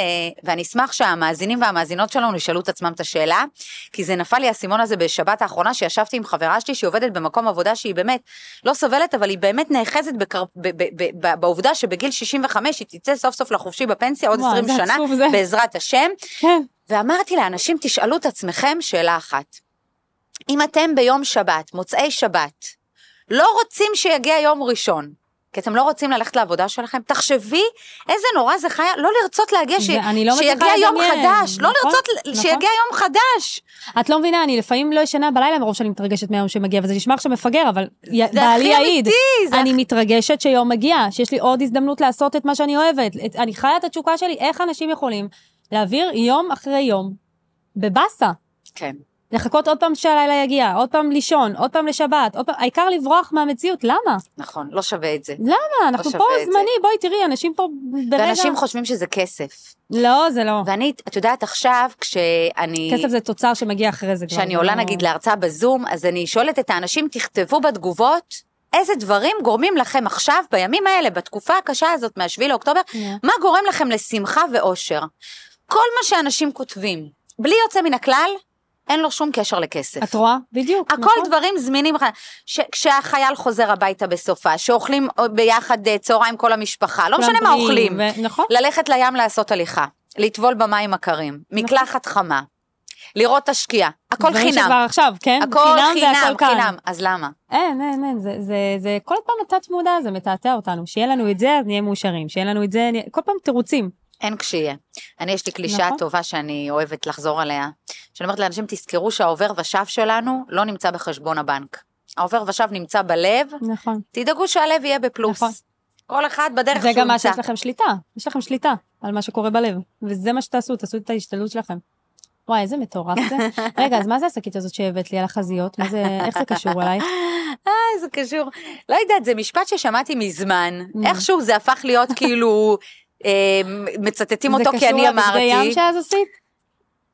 [SPEAKER 2] ואני אשמח שהמאזינים והמאזינות שלנו ישאלו את עצמם את השאלה, כי זה נפל לי האסימון הזה בשבת האחרונה, שישבתי עם חברה שלי שעובדת במקום עבודה שהיא באמת לא סובלת, אבל היא באמת נאחזת בקר... ב- ב- ב- ב- בעובדה שבגיל 65 היא תצא סוף סוף לחופשי בפנסיה עוד
[SPEAKER 1] וואי,
[SPEAKER 2] 20
[SPEAKER 1] זה
[SPEAKER 2] שנה,
[SPEAKER 1] עצוב, זה.
[SPEAKER 2] בעזרת השם.
[SPEAKER 1] כן.
[SPEAKER 2] ואמרתי לאנשים, תשאלו את עצמכם שאלה אחת. אם אתם ביום שבת, מוצאי שבת, לא רוצים שיגיע יום ראשון, כי אתם לא רוצים ללכת לעבודה שלכם, תחשבי איזה נורא זה חיה, לא לרצות להגיע, ש...
[SPEAKER 1] ואני לא מצליחה
[SPEAKER 2] שיגיע יום
[SPEAKER 1] לדמיין,
[SPEAKER 2] חדש, לא
[SPEAKER 1] נכון,
[SPEAKER 2] לרצות ל-
[SPEAKER 1] נכון.
[SPEAKER 2] שיגיע יום חדש.
[SPEAKER 1] את לא מבינה, אני לפעמים לא ישנה בלילה מרוב שאני מתרגשת מהיום שמגיע, וזה נשמע עכשיו מפגר, אבל י-
[SPEAKER 2] זה
[SPEAKER 1] בעלי
[SPEAKER 2] הכי
[SPEAKER 1] יעיד.
[SPEAKER 2] אמיתי, זה
[SPEAKER 1] אני
[SPEAKER 2] הכי-
[SPEAKER 1] מתרגשת שיום מגיע, שיש לי עוד הזדמנות לעשות את מה שאני אוהבת. את- אני חיה את התשוקה שלי, איך אנשים יכולים להעביר יום אחרי יום בבאסה?
[SPEAKER 2] כן,
[SPEAKER 1] לחכות עוד פעם שהלילה יגיע, עוד פעם לישון, עוד פעם לשבת, עוד פעם, העיקר לברוח מהמציאות, למה?
[SPEAKER 2] נכון, לא שווה את זה.
[SPEAKER 1] למה? אנחנו
[SPEAKER 2] שווה
[SPEAKER 1] פה
[SPEAKER 2] את זה.
[SPEAKER 1] זמני, בואי תראי, אנשים פה ברגע...
[SPEAKER 2] ואנשים חושבים שזה כסף.
[SPEAKER 1] לא, זה לא.
[SPEAKER 2] ואני, את יודעת, עכשיו, כשאני...
[SPEAKER 1] כסף זה תוצר שמגיע אחרי זה. כבר,
[SPEAKER 2] כשאני
[SPEAKER 1] זה
[SPEAKER 2] עולה
[SPEAKER 1] לא-
[SPEAKER 2] נגיד להרצאה בזום, אז אני שואלת את האנשים, תכתבו בתגובות איזה דברים גורמים לכם עכשיו, בימים האלה, בתקופה הקשה הזאת, מה-7 לאוקטובר,
[SPEAKER 1] כן.
[SPEAKER 2] מה גורם לכם לשמחה ואושר. כל מה שאנשים כותבים, בלי יוצא מן הכלל, אין לו שום קשר לכסף.
[SPEAKER 1] את רואה? בדיוק.
[SPEAKER 2] הכל
[SPEAKER 1] נכון.
[SPEAKER 2] דברים זמינים, ש- כשהחייל חוזר הביתה בסופה, שאוכלים ביחד אה, צהריים כל המשפחה, לא
[SPEAKER 1] כולם
[SPEAKER 2] משנה מה
[SPEAKER 1] בריאים,
[SPEAKER 2] אוכלים.
[SPEAKER 1] ו- נכון.
[SPEAKER 2] ללכת לים לעשות הליכה, לטבול במים הקרים, מקלחת חמה, לראות את השקיעה, הכל
[SPEAKER 1] נכון. דברים
[SPEAKER 2] חינם.
[SPEAKER 1] שכבר עכשיו, כן?
[SPEAKER 2] הכל חינם,
[SPEAKER 1] והכל כאן.
[SPEAKER 2] חינם, אז למה?
[SPEAKER 1] אין, אין, אין, זה, זה, זה כל פעם התת מודע הזה מתעתע אותנו. שיהיה לנו את זה, אז נהיה מאושרים. שיהיה לנו את זה, נהיה... כל פעם תירוצים.
[SPEAKER 2] אין כשיהיה. אני, יש לי קלישאה
[SPEAKER 1] נכון.
[SPEAKER 2] טובה שאני אוהבת לחזור עליה, שאני אומרת לאנשים, תזכרו שהעובר ושב שלנו לא נמצא בחשבון הבנק. העובר ושב נמצא בלב,
[SPEAKER 1] נכון.
[SPEAKER 2] תדאגו שהלב יהיה בפלוס.
[SPEAKER 1] נכון.
[SPEAKER 2] כל אחד בדרך
[SPEAKER 1] זה
[SPEAKER 2] שהוא
[SPEAKER 1] גם מה
[SPEAKER 2] נמצא.
[SPEAKER 1] שיש לכם שליטה. יש לכם שליטה על מה שקורה בלב. וזה מה שתעשו, תעשו את ההשתדלות שלכם. וואי, איזה מטורף זה. רגע, אז מה זה השקית הזאת שהבאת לי על החזיות? מה זה, איך זה קשור אלייך?
[SPEAKER 2] אה, זה קשור. לא יודעת, זה משפט ששמעתי מזמן.
[SPEAKER 1] Mm.
[SPEAKER 2] איכשהו זה הפך להיות כאילו, אה, מצטטים אותו כי אני
[SPEAKER 1] זה קשור לכתבי ים
[SPEAKER 2] אמרתי.
[SPEAKER 1] שאז עשית?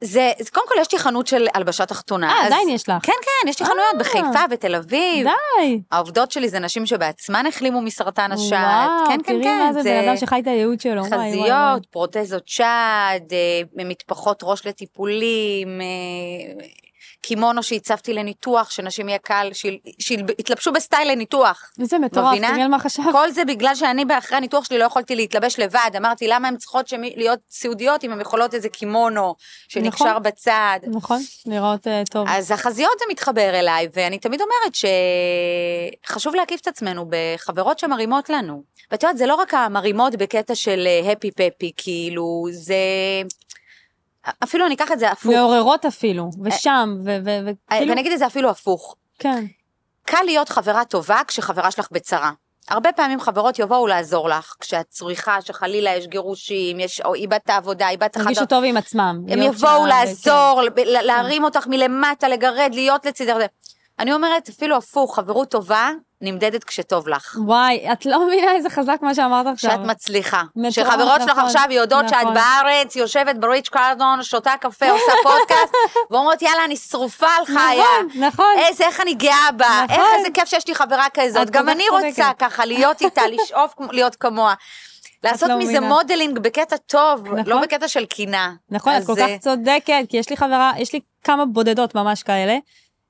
[SPEAKER 2] זה, זה- קודם כל יש לי חנות של הלבשה תחתונה.
[SPEAKER 1] אה,
[SPEAKER 2] אז-
[SPEAKER 1] עדיין יש לך.
[SPEAKER 2] כן, כן, יש לי חנויות
[SPEAKER 1] אה.
[SPEAKER 2] בחיפה, בתל אביב.
[SPEAKER 1] די.
[SPEAKER 2] העובדות שלי זה נשים שבעצמן החלימו מסרטן השד.
[SPEAKER 1] וואו,
[SPEAKER 2] כן, כן,
[SPEAKER 1] תראי
[SPEAKER 2] כן.
[SPEAKER 1] מה זה בן אדם שחי את הייעוד שלו. וואי, וואי, וואי.
[SPEAKER 2] חזיות, פרוטזות שד, אה, מטפחות ראש לטיפולים, אה, קימונו שהצבתי לניתוח, שנשים יהיה קל, שיל- שיתלבשו בסטייל לניתוח.
[SPEAKER 1] איזה מטורף,
[SPEAKER 2] מבינה?
[SPEAKER 1] תראי על מה חשבת.
[SPEAKER 2] כל זה בגלל שאני אחרי הניתוח שלי לא יכולתי להתלבש לבד, אמרתי למה הן צריכות שמי- להיות סיעודיות אם הן יכולות איזה קימונו שנקשר
[SPEAKER 1] נכון.
[SPEAKER 2] בצד.
[SPEAKER 1] נכון, נראות אה, טוב.
[SPEAKER 2] אז החזיות זה מתחבר אליי, ואני תמיד אומרת שחשוב להקיף את עצמנו בחברות שמרימות לנו. ואת יודעת, זה לא רק המרימות בקטע של אה, הפי פפי, כאילו, זה... אפילו אני אקח את זה הפוך,
[SPEAKER 1] מעוררות אפילו, ושם, ו- ו-
[SPEAKER 2] אה,
[SPEAKER 1] וכאילו,
[SPEAKER 2] ואני אגיד את זה אפילו הפוך.
[SPEAKER 1] כן.
[SPEAKER 2] קל להיות חברה טובה כשחברה שלך בצרה. הרבה פעמים חברות יבואו לעזור לך, כשאת צריכה, שחלילה יש גירושים, יש, או איבדת עבודה, איבדת חדר...
[SPEAKER 1] הרגישו טוב עם עצמם.
[SPEAKER 2] הם
[SPEAKER 1] להיות
[SPEAKER 2] יבואו
[SPEAKER 1] שם, כן.
[SPEAKER 2] לעזור, ל- ל- להרים אותך מלמטה, לגרד, להיות לצידך. אני אומרת, אפילו הפוך, חברות טובה נמדדת כשטוב לך.
[SPEAKER 1] כן. וואי, את לא מבינה איזה חזק מה שאמרת עכשיו.
[SPEAKER 2] שאת מצליחה.
[SPEAKER 1] מטורף,
[SPEAKER 2] שחברות שלך
[SPEAKER 1] נכון,
[SPEAKER 2] עכשיו יודעות שאת
[SPEAKER 1] נכון.
[SPEAKER 2] בארץ, יושבת בריץ' קרדון, שותה קפה, עושה פודקאסט, ואומרות, יאללה, אני שרופה על חיה.
[SPEAKER 1] נכון, נכון.
[SPEAKER 2] איזה, איך אני גאה בה,
[SPEAKER 1] נכון.
[SPEAKER 2] איך איזה כיף שיש לי חברה כזאת,
[SPEAKER 1] את
[SPEAKER 2] גם
[SPEAKER 1] כל כך
[SPEAKER 2] אני רוצה
[SPEAKER 1] צודקת.
[SPEAKER 2] ככה להיות איתה, לשאוף כמו- להיות כמוה. לעשות
[SPEAKER 1] לא
[SPEAKER 2] מזה
[SPEAKER 1] מבינה.
[SPEAKER 2] מודלינג בקטע טוב,
[SPEAKER 1] נכון.
[SPEAKER 2] לא בקטע של קינה.
[SPEAKER 1] נכון, את
[SPEAKER 2] אז,
[SPEAKER 1] כל
[SPEAKER 2] אה,
[SPEAKER 1] כך צודקת, כי יש לי חברה, יש לי כמה בודדות ממש כאלה,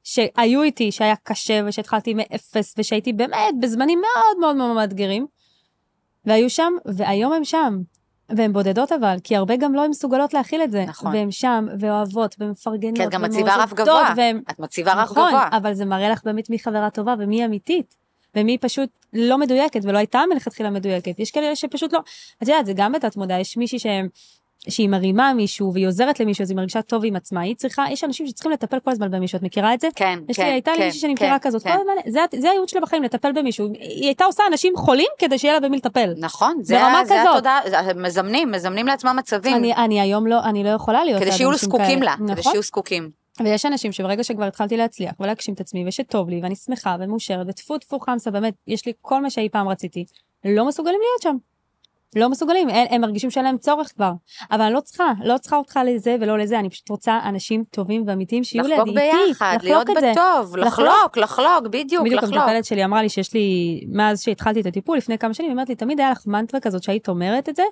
[SPEAKER 1] שהיו איתי, שהיה קשה, ושהתחלתי מאפס, ושהייתי באמת בזמנים מאוד מאוד מאוד מאתגרים, והיו שם, והיום הם שם. והן בודדות אבל, כי הרבה גם לא הן מסוגלות להכיל את זה.
[SPEAKER 2] נכון.
[SPEAKER 1] והן שם, ואוהבות, ומפרגנות,
[SPEAKER 2] כי את גם מציבה רף
[SPEAKER 1] ומעודדות,
[SPEAKER 2] גבוה.
[SPEAKER 1] והן...
[SPEAKER 2] את מציבה רף
[SPEAKER 1] נכון,
[SPEAKER 2] גבוה.
[SPEAKER 1] אבל זה מראה לך באמת מי חברה טובה ומי אמיתית, ומי פשוט לא מדויקת, ולא הייתה מלכתחילה מדויקת. יש כאלה שפשוט לא... את יודעת, זה גם בתת מודע, יש מישהי שהם... שהיא מרימה מישהו והיא עוזרת למישהו, אז היא מרגישה טוב עם עצמה. היא צריכה, יש אנשים שצריכים לטפל כל הזמן במישהו, את מכירה את זה?
[SPEAKER 2] כן,
[SPEAKER 1] יש
[SPEAKER 2] כן,
[SPEAKER 1] לי, הייתה
[SPEAKER 2] כן,
[SPEAKER 1] לי מישהי שאני
[SPEAKER 2] כן,
[SPEAKER 1] מכירה כזאת,
[SPEAKER 2] כן.
[SPEAKER 1] כל הזמן, זה, זה הייעוד שלה בחיים, לטפל במישהו. היא הייתה עושה אנשים חולים כדי שיהיה לה במי לטפל.
[SPEAKER 2] נכון, זה
[SPEAKER 1] ברמה
[SPEAKER 2] ה- זה
[SPEAKER 1] כזאת.
[SPEAKER 2] התודעה, זה- מזמנים, מזמנים לעצמם מצבים,
[SPEAKER 1] אני, אני היום לא, אני לא יכולה להיות
[SPEAKER 2] כדי
[SPEAKER 1] ליד
[SPEAKER 2] שיהיו
[SPEAKER 1] אנשים
[SPEAKER 2] זקוקים
[SPEAKER 1] כאלה.
[SPEAKER 2] לה,
[SPEAKER 1] נכון?
[SPEAKER 2] כדי שיהיו זקוקים.
[SPEAKER 1] ויש אנשים שברגע שכבר התחלתי להצליח ולהגשים את עצמי ושטוב לי ואני שמחה ומאושרת וטפו טפו חמסה באמת יש לי כל מה שאי פעם רציתי לא מסוגלים להיות שם. לא מסוגלים הם, הם מרגישים שאין להם צורך כבר אבל אני לא צריכה לא צריכה אותך לזה ולא לזה אני פשוט רוצה אנשים טובים ואמיתיים שיהיו לידי
[SPEAKER 2] לחגוג
[SPEAKER 1] איתי
[SPEAKER 2] ביחד, להיות
[SPEAKER 1] את זה.
[SPEAKER 2] בטוב, לחלוק, לחלוק, בדיוק,
[SPEAKER 1] בדיוק
[SPEAKER 2] לחלוק.
[SPEAKER 1] המטפלת שלי אמרה לי שיש לי, מאז שהתחלתי את הטיפול לפני כמה שנים, היא אומרת לי, תמיד היה לך מנטרה כזאת שהיית אומרת את זה,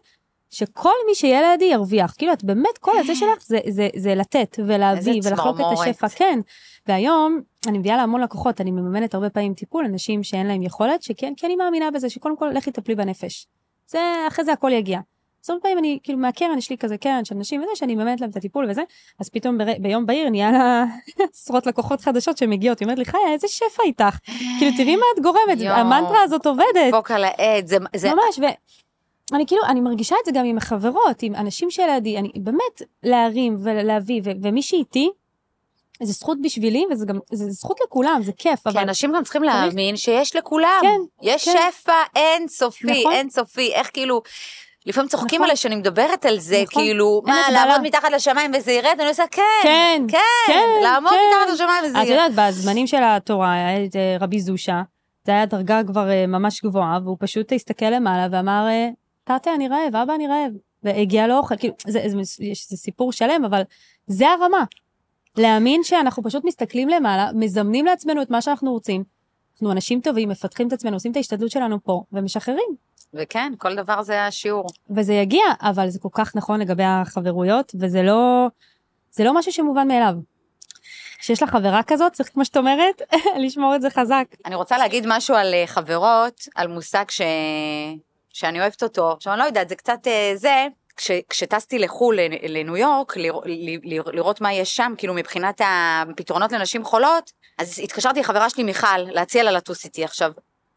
[SPEAKER 1] שכל מי שיהיה לידי ירוויח. כאילו, את באמת, כל הזה שלך זה, זה, זה לתת ולהביא
[SPEAKER 2] איזה
[SPEAKER 1] ולחלוק את
[SPEAKER 2] צמרמורת.
[SPEAKER 1] השפע, כן. והיום אני מביאה להמון לקוחות, אני מממנת הרבה פעמים טיפול, אנשים שאין להם יכולת, שכן, כי אני מאמינה בזה, שקודם כל לכי תטפלי בנפש. זה, אחרי זה הכל יגיע. אז הרבה פעמים אני, כאילו, מהקרן יש לי כזה קרן של נשים וזה, שאני מממנת להם את הטיפול וזה, אז פתאום בר... ביום בהיר נהיה לה עשרות לקוחות חדשות שמגיעות, היא אומרת לי, חיה, איזה שפע איתך. כאילו, תראי מה את גורמת,
[SPEAKER 2] יואו.
[SPEAKER 1] המנטרה הזאת עובדת.
[SPEAKER 2] דפוק על העד, זה- זה
[SPEAKER 1] ממש, ואני כאילו, אני מרגישה את זה גם עם החברות, עם אנשים שלידי, אני באמת, להרים ולהביא, ו- ומי שאיתי, זה זכות בשבילי, וזה גם, זה זכות לכולם, זה כיף,
[SPEAKER 2] כי
[SPEAKER 1] אבל...
[SPEAKER 2] אנשים גם צריכים להאמין שיש לכולם.
[SPEAKER 1] כן,
[SPEAKER 2] יש
[SPEAKER 1] כן.
[SPEAKER 2] שפע אינסופי,
[SPEAKER 1] נכון.
[SPEAKER 2] אינסופי, איך כאילו... לפעמים צוחקים
[SPEAKER 1] נכון.
[SPEAKER 2] עלי שאני מדברת על זה,
[SPEAKER 1] נכון.
[SPEAKER 2] כאילו,
[SPEAKER 1] אין
[SPEAKER 2] מה,
[SPEAKER 1] הגבלה.
[SPEAKER 2] לעמוד מתחת לשמיים וזה ירד? אני עושה, כן,
[SPEAKER 1] כן,
[SPEAKER 2] כן,
[SPEAKER 1] כן,
[SPEAKER 2] לעמוד
[SPEAKER 1] כן.
[SPEAKER 2] מתחת לשמיים וזה
[SPEAKER 1] את
[SPEAKER 2] ירד.
[SPEAKER 1] יודעת, בזמנים של התורה היה את אה, רבי זושה, זה היה דרגה כבר אה, ממש גבוהה, והוא פשוט הסתכל למעלה ואמר, אה, תתה, אני רעב, אבא, אני רעב. והגיע לו אוכל, כאילו, זה, זה, יש- זה סיפור שלם, אבל זה הרמה. להאמין שאנחנו פשוט מסתכלים למעלה, מזמנים לעצמנו את מה שאנחנו רוצים. אנחנו אנשים טובים, מפתחים את עצמנו, עושים את ההשתדלות שלנו פה, ומשחררים.
[SPEAKER 2] וכן, כל דבר זה השיעור.
[SPEAKER 1] וזה יגיע, אבל זה כל כך נכון לגבי החברויות, וזה לא, זה לא משהו שמובן מאליו. כשיש לך חברה כזאת, צריך, כמו שאת אומרת, לשמור את זה חזק.
[SPEAKER 2] אני רוצה להגיד משהו על אה, חברות, על מושג ש... שאני אוהבת אותו. עכשיו, אני לא יודעת, זה קצת אה, זה, כש... כשטסתי לחו"ל, לנ- לניו יורק, לרא... ל- ל- לראות מה יש שם, כאילו מבחינת הפתרונות לנשים חולות, אז התקשרתי לחברה שלי מיכל, להציע לה לטוס איתי עכשיו.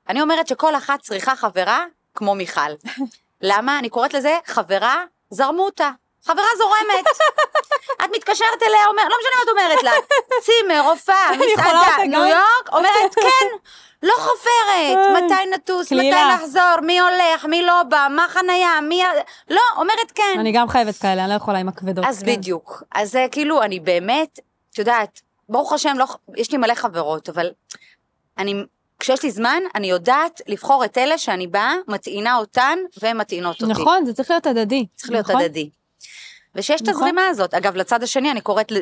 [SPEAKER 2] אני אומרת שכל אחת צריכה חברה כמו מיכל. למה? אני קוראת לזה חברה זרמוטה. חברה זורמת. את מתקשרת אליה, אומר, לא משנה מה את אומרת לה, צימר, הופעה,
[SPEAKER 1] אני יכולה
[SPEAKER 2] מסעדה,
[SPEAKER 1] אותה
[SPEAKER 2] ניו
[SPEAKER 1] גם?
[SPEAKER 2] יורק, אומרת, כן, לא חופרת,
[SPEAKER 1] איי,
[SPEAKER 2] מתי נטוס, מתי
[SPEAKER 1] כן. קלילה.
[SPEAKER 2] נחזור, מי הולך, מי לא בא, מה חנייה, מי... ה- לא, אומרת כן.
[SPEAKER 1] אני גם חייבת כאלה, אני לא יכולה עם הכבדות.
[SPEAKER 2] אז
[SPEAKER 1] כן.
[SPEAKER 2] בדיוק. אז זה כאילו, אני באמת, את יודעת, ברוך השם, לא, ח- יש לי מלא חברות, אבל אני, כשיש לי זמן, אני יודעת לבחור את אלה שאני באה, מטעינה אותן, והן מטעינות אותי.
[SPEAKER 1] נכון, זה צריך להיות הדדי.
[SPEAKER 2] צריך להיות
[SPEAKER 1] נכון?
[SPEAKER 2] הדדי. ושיש את
[SPEAKER 1] נכון.
[SPEAKER 2] הזרימה הזאת. אגב, לצד השני אני קוראת אה,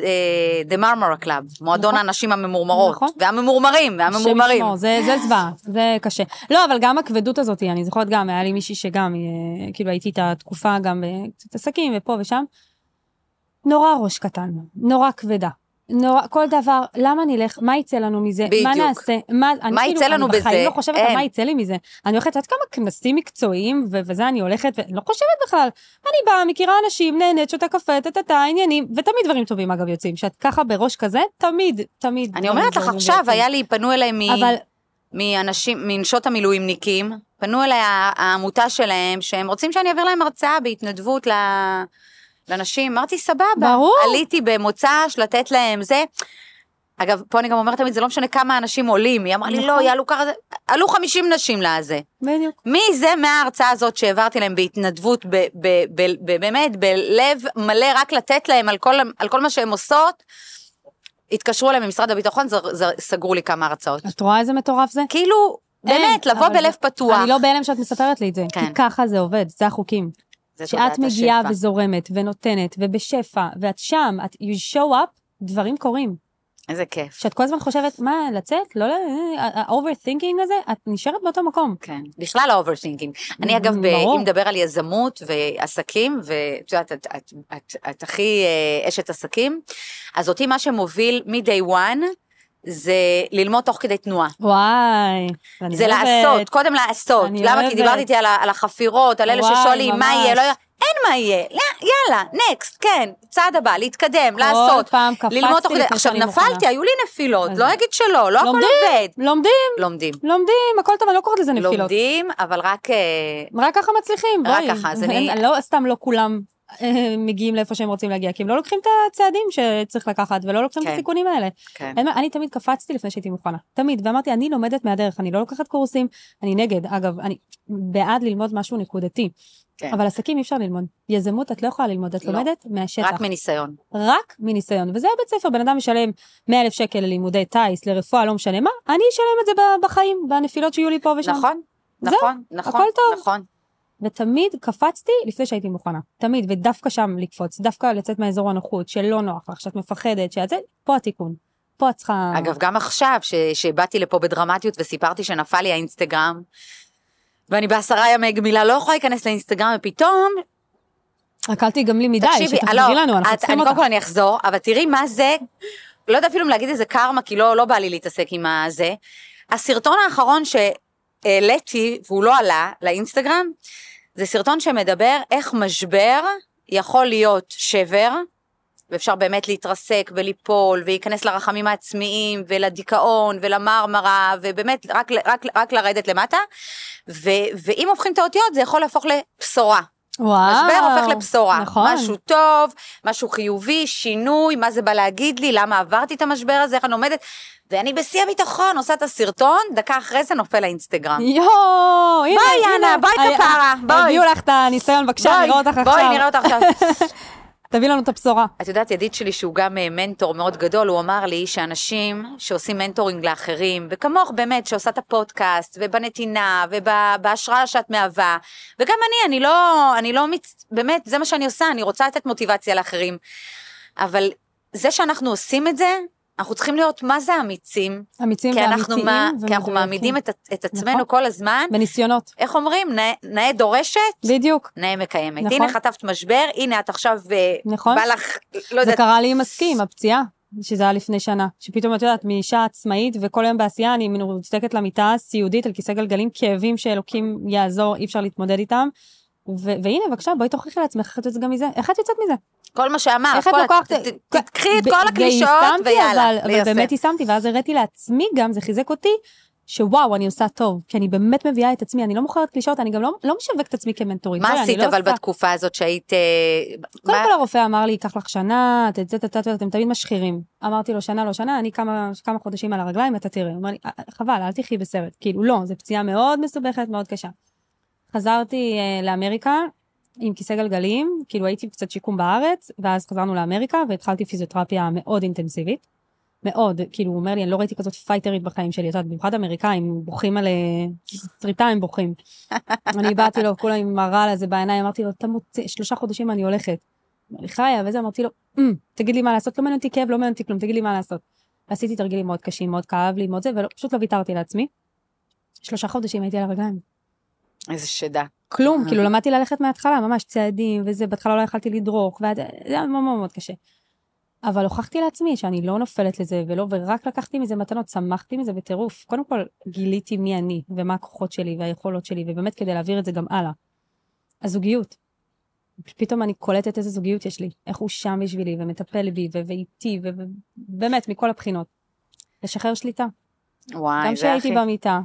[SPEAKER 2] The Marmara Club, מועדון
[SPEAKER 1] נכון.
[SPEAKER 2] הנשים הממורמרות,
[SPEAKER 1] נכון.
[SPEAKER 2] והממורמרים,
[SPEAKER 1] השם
[SPEAKER 2] והממורמרים.
[SPEAKER 1] ישמור, זה זה זוועה, זה קשה. לא, אבל גם הכבדות הזאת, אני זוכרת גם, היה לי מישהי שגם, אה, כאילו הייתי איתה תקופה גם בקצת עסקים ופה ושם, נורא ראש קטן, נורא כבדה. נורא, כל דבר, למה נלך, מה יצא לנו מזה, מה
[SPEAKER 2] בדיוק.
[SPEAKER 1] נעשה, מה, אני
[SPEAKER 2] מה
[SPEAKER 1] כאילו,
[SPEAKER 2] יצא לנו
[SPEAKER 1] אני
[SPEAKER 2] בזה?
[SPEAKER 1] בחיים לא חושבת על
[SPEAKER 2] אין.
[SPEAKER 1] מה יצא לי מזה. אני הולכת, את יודעת כמה כנסים מקצועיים, ו- וזה אני הולכת, ולא חושבת בכלל. אני באה, מכירה אנשים, נהנית, שותה קפה, טה-טה-טה, עניינים, ותמיד דברים טובים אגב יוצאים, שאת ככה בראש כזה, תמיד, תמיד.
[SPEAKER 2] אני
[SPEAKER 1] דברים
[SPEAKER 2] אומרת לך
[SPEAKER 1] טובים
[SPEAKER 2] עכשיו,
[SPEAKER 1] יוצאים.
[SPEAKER 2] היה לי, פנו אליי מ...
[SPEAKER 1] לא, אבל
[SPEAKER 2] מאנשים, מנשות המילואימניקים, פנו אליי העמותה שלהם, שהם רוצים שאני אעביר להם הרצאה בהתנדבות ל... לנשים, אמרתי סבבה.
[SPEAKER 1] ברור.
[SPEAKER 2] עליתי במוצ"ש לתת להם זה. אגב, פה אני גם אומרת תמיד, זה לא משנה כמה אנשים עולים, היא אמרה לי,
[SPEAKER 1] נכון.
[SPEAKER 2] לא, יעלו ככה, זה- עלו 50 נשים לזה.
[SPEAKER 1] בדיוק.
[SPEAKER 2] מי זה מההרצאה הזאת שהעברתי להם בהתנדבות, ב, ב, ב, ב, באמת, בלב מלא, רק לתת להם על כל, על כל מה שהן עושות? התקשרו אליהם ממשרד הביטחון, זר, זר, סגרו לי כמה הרצאות.
[SPEAKER 1] את רואה איזה מטורף זה?
[SPEAKER 2] כאילו,
[SPEAKER 1] אין,
[SPEAKER 2] באמת, לבוא
[SPEAKER 1] אבל
[SPEAKER 2] בלב
[SPEAKER 1] זה-
[SPEAKER 2] פתוח.
[SPEAKER 1] אני לא בהלם שאת מספרת לי את זה,
[SPEAKER 2] כן.
[SPEAKER 1] כי ככה זה עובד, זה החוקים.
[SPEAKER 2] זה
[SPEAKER 1] שאת
[SPEAKER 2] תודעת
[SPEAKER 1] מגיעה
[SPEAKER 2] השפע.
[SPEAKER 1] וזורמת ונותנת ובשפע, ואת שם, את you show up, דברים קורים.
[SPEAKER 2] איזה כיף.
[SPEAKER 1] כשאת כל הזמן חושבת, מה, לצאת? לא, לא, אה, אה, ה-overthinking הזה, את נשארת באותו מקום.
[SPEAKER 2] כן. בכלל האוברסינקינג. אני אגב, ב-
[SPEAKER 1] ברור.
[SPEAKER 2] אם נדבר על יזמות ועסקים, ואת יודעת, את, את, את, את הכי אה, אשת עסקים, אז אותי מה שמוביל מ-day one, זה ללמוד תוך כדי תנועה.
[SPEAKER 1] וואי, אני
[SPEAKER 2] זה
[SPEAKER 1] אוהבת.
[SPEAKER 2] לעשות, קודם לעשות.
[SPEAKER 1] אני
[SPEAKER 2] למה?
[SPEAKER 1] אוהבת.
[SPEAKER 2] כי דיברת איתי על ה- על החפירות, על אלה
[SPEAKER 1] וואי,
[SPEAKER 2] ששולי, מה
[SPEAKER 1] ממש.
[SPEAKER 2] יהיה, לא יהיה. אין מה יהיה, לא, יאללה, נקסט, כן, צעד הבא, להתקדם, לעשות,
[SPEAKER 1] כל פעם קפצתי
[SPEAKER 2] ללמוד תוך כדי,
[SPEAKER 1] לפני
[SPEAKER 2] עכשיו
[SPEAKER 1] שאני מוכנה.
[SPEAKER 2] נפלתי, היו לי נפילות,
[SPEAKER 1] אז-
[SPEAKER 2] לא אגיד שלא, לא הכל
[SPEAKER 1] לומדים.
[SPEAKER 2] עובד.
[SPEAKER 1] לומדים,
[SPEAKER 2] לומדים.
[SPEAKER 1] לומדים, הכל טוב, אני לא קוראת לזה נפילות.
[SPEAKER 2] לומדים, אבל רק... אה,
[SPEAKER 1] רק ככה מצליחים,
[SPEAKER 2] רק
[SPEAKER 1] בואי.
[SPEAKER 2] ככה, אז אני-
[SPEAKER 1] אין- לא סתם לא כולם אה, מגיעים לאיפה שהם רוצים להגיע, כי הם לא לוקחים את הצעדים שצריך לקחת, ולא לוקחים את
[SPEAKER 2] כן.
[SPEAKER 1] הסיכונים האלה.
[SPEAKER 2] כן.
[SPEAKER 1] אין מה- אני תמיד קפצתי לפני שהייתי מוכנה, תמיד, ואמרתי, אני לומדת מהדרך, אני לא לוקחת קורסים, אני נגד, אגב, אני בעד ללמוד משהו נקודתי.
[SPEAKER 2] כן.
[SPEAKER 1] אבל עסקים אי אפשר ללמוד, יזמות את לא יכולה ללמוד, את
[SPEAKER 2] לא.
[SPEAKER 1] לומדת מהשטח.
[SPEAKER 2] רק מניסיון.
[SPEAKER 1] רק מניסיון, וזה הבית ספר, בן אדם משלם 100 אלף שקל ללימודי טיס, לרפואה, לא משנה מה, אני אשלם את זה ב- בחיים, בנפילות שיהיו לי פה ושם.
[SPEAKER 2] נכון,
[SPEAKER 1] זהו,
[SPEAKER 2] נכון, נכון,
[SPEAKER 1] הכל טוב.
[SPEAKER 2] נכון.
[SPEAKER 1] ותמיד קפצתי לפני שהייתי מוכנה. תמיד, ודווקא שם לקפוץ, דווקא לצאת מהאזור הנוחות, שלא נוח לך, שאת מפחדת, שאת זה, פה התיקון. פה את צריכה...
[SPEAKER 2] אגב, גם עכשיו, ש- שבאתי לפה בדרמטיות וסיפרתי שנפל לי האינסטגרם, ואני בעשרה ימי גמילה לא יכולה להיכנס לאינסטגרם, ופתאום,
[SPEAKER 1] רק אל תיגמלי מדי,
[SPEAKER 2] תקשיבי,
[SPEAKER 1] שתחזרי
[SPEAKER 2] לא,
[SPEAKER 1] לנו, אנחנו
[SPEAKER 2] את-
[SPEAKER 1] צריכים
[SPEAKER 2] אני
[SPEAKER 1] אותך.
[SPEAKER 2] קודם כל אני אחזור, אבל תראי מה זה, לא יודע אפילו אם להגיד איזה קרמה, כי לא לא בא לי להתעסק עם הזה. הסרטון האחרון שהעליתי, והוא לא עלה לאינסטגרם, זה סרטון שמדבר איך משבר יכול להיות שבר, ואפשר באמת להתרסק וליפול, ולהיכנס לרחמים העצמיים, ולדיכאון, ולמרמרה, ובאמת רק, ל- רק, רק לרדת למטה, ו, ואם הופכים את האותיות זה יכול להפוך לבשורה.
[SPEAKER 1] וואו.
[SPEAKER 2] משבר הופך לבשורה.
[SPEAKER 1] נכון.
[SPEAKER 2] משהו טוב, משהו חיובי, שינוי, מה זה בא להגיד לי, למה עברתי את המשבר הזה, איך אני עומדת. ואני בשיא הביטחון עושה את הסרטון, דקה אחרי זה נופל לאינסטגרם.
[SPEAKER 1] יואו, הנה,
[SPEAKER 2] ביי,
[SPEAKER 1] הנה.
[SPEAKER 2] יאנה, ביי,
[SPEAKER 1] היה-
[SPEAKER 2] כפרה, בואי.
[SPEAKER 1] אה, הביאו לך את הניסיון, בבקשה,
[SPEAKER 2] בואי,
[SPEAKER 1] נראה אותך עכשיו.
[SPEAKER 2] בואי, נראה אותך עכשיו.
[SPEAKER 1] תביא לנו את הבשורה.
[SPEAKER 2] את יודעת, ידיד שלי שהוא גם אה, מנטור מאוד גדול, הוא אמר לי שאנשים שעושים מנטורינג לאחרים, וכמוך באמת, שעושה את הפודקאסט, ובנתינה, ובהשראה שאת מהווה, וגם אני, אני לא, אני לא מצ... באמת, זה מה שאני עושה, אני רוצה לתת מוטיבציה לאחרים. אבל זה שאנחנו עושים את זה, אנחנו צריכים להיות מה זה אמיצים,
[SPEAKER 1] אמיצים
[SPEAKER 2] כי
[SPEAKER 1] ואמיתיים
[SPEAKER 2] אנחנו, מה, כי אנחנו
[SPEAKER 1] ומדויקים.
[SPEAKER 2] מעמידים את, את עצמנו
[SPEAKER 1] נכון.
[SPEAKER 2] כל הזמן,
[SPEAKER 1] בניסיונות,
[SPEAKER 2] איך אומרים, נאה, נאה דורשת,
[SPEAKER 1] בדיוק.
[SPEAKER 2] נאה מקיימת.
[SPEAKER 1] נכון.
[SPEAKER 2] הנה חטפת משבר, הנה את עכשיו, אה,
[SPEAKER 1] נכון.
[SPEAKER 2] בא לך, לא
[SPEAKER 1] זה
[SPEAKER 2] יודעת,
[SPEAKER 1] קרה לי עם הסקי, עם הפציעה, שזה היה לפני שנה. שפתאום, את יודעת, מאישה עצמאית וכל היום בעשייה, אני מרותקת למיטה סיעודית על כיסא גלגלים, כאבים שאלוקים יעזור, אי אפשר להתמודד איתם. ו- והנה, בבקשה, בואי תוכיחי לעצמך איך את יוצאת גם מזה. איך את יוצאת מזה?
[SPEAKER 2] כל מה שאמרת,
[SPEAKER 1] איך את
[SPEAKER 2] כל ה-
[SPEAKER 1] לוקחת...
[SPEAKER 2] ת- ת- תקחי את כל
[SPEAKER 1] ב-
[SPEAKER 2] הקלישאות
[SPEAKER 1] ויישמתי,
[SPEAKER 2] ויאללה,
[SPEAKER 1] אבל, אבל
[SPEAKER 2] ליישם.
[SPEAKER 1] באמת יישמתי, ואז הראתי לעצמי גם, זה חיזק אותי, שוואו, אני עושה טוב, כי אני באמת מביאה את עצמי, אני לא מוכרת קלישאות, אני גם לא, לא משווקת את עצמי כמנטורית.
[SPEAKER 2] מה
[SPEAKER 1] אוי, אני
[SPEAKER 2] עשית
[SPEAKER 1] לא
[SPEAKER 2] אבל
[SPEAKER 1] עושה-
[SPEAKER 2] בתקופה הזאת שהיית... אה,
[SPEAKER 1] קודם
[SPEAKER 2] מה-
[SPEAKER 1] כל הרופא אמר לי, ייקח לך שנה, את זה, את זה, אתם תמיד משחירים. אמרתי לו, שנה, לא שנה, אני כמה, כמה חודשים על הרגליים, אתה תראה. הוא אמר לי, "אה, חבל, אל תחי בסרט. כאילו, לא, זו פציעה מאוד מסובכת, מאוד קשה. חזרתי אה, לאמריקה עם כיסא גלגלים, כאילו הייתי קצת שיקום בארץ, ואז חזרנו לאמריקה והתחלתי פיזיותרפיה מאוד אינטנסיבית. מאוד, כאילו הוא אומר לי, אני לא ראיתי כזאת פייטרית בחיים שלי, את יודעת, במיוחד אמריקאים, בוכים על... אה, סריטאים בוכים. אני באתי לו, כולה עם הרעל הזה בעיניים, אמרתי לו, אתה מוצא, שלושה חודשים אני הולכת. אמר לי, חיה, וזה, אמרתי לו, "אמ, תגיד לי מה לעשות, לא מעניין אותי כאב, לא מעניין אותי כלום, תגיד לי מה לעשות. ועשיתי תרגילים מאוד קשים, מאוד כאב לי, מאוד זה, ופשוט לא ויתרתי לעצמי. שלושה חודשים הייתי על הרגליים.
[SPEAKER 2] איזה שדה.
[SPEAKER 1] כלום,
[SPEAKER 2] אה.
[SPEAKER 1] כאילו למדתי ללכת מההתחלה, ממש צעדים וזה, בהתחלה לא יכלתי לדרוך, ואז- זה היה מאוד מאוד מאוד קשה. אבל הוכחתי לעצמי שאני לא נופלת לזה ולא, ורק לקחתי מזה מתנות, שמחתי מזה בטירוף. קודם כל, גיליתי מי אני, ומה הכוחות שלי והיכולות שלי, ובאמת כדי להעביר את זה גם הלאה. הזוגיות. פתאום אני קולטת איזה זוגיות יש לי, איך הוא שם בשבילי, ומטפל בי, ו- ואיתי, ובאמת, מכל הבחינות. לשחרר שליטה.
[SPEAKER 2] וואי,
[SPEAKER 1] גם
[SPEAKER 2] אה, זה הכי...
[SPEAKER 1] כשהייתי במיטה,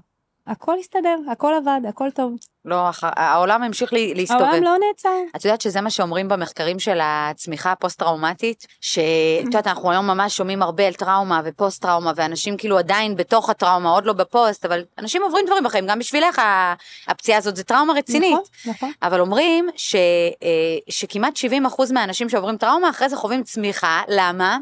[SPEAKER 1] הכל הסתדר, הכל עבד, הכל טוב.
[SPEAKER 2] לא, הח- העולם המשיך לי- להסתובב.
[SPEAKER 1] העולם לא נעצר.
[SPEAKER 2] את יודעת שזה מה שאומרים במחקרים של הצמיחה הפוסט-טראומטית? שאת יודעת, אנחנו היום ממש שומעים הרבה על טראומה ופוסט-טראומה, ואנשים כאילו עדיין בתוך הטראומה, עוד לא בפוסט, אבל אנשים עוברים דברים בחיים, גם בשבילך ה- הפציעה הזאת זה טראומה רצינית.
[SPEAKER 1] נכון, נכון.
[SPEAKER 2] אבל אומרים ש, אה, שכמעט 70% מהאנשים שעוברים טראומה אחרי זה חווים צמיחה, למה?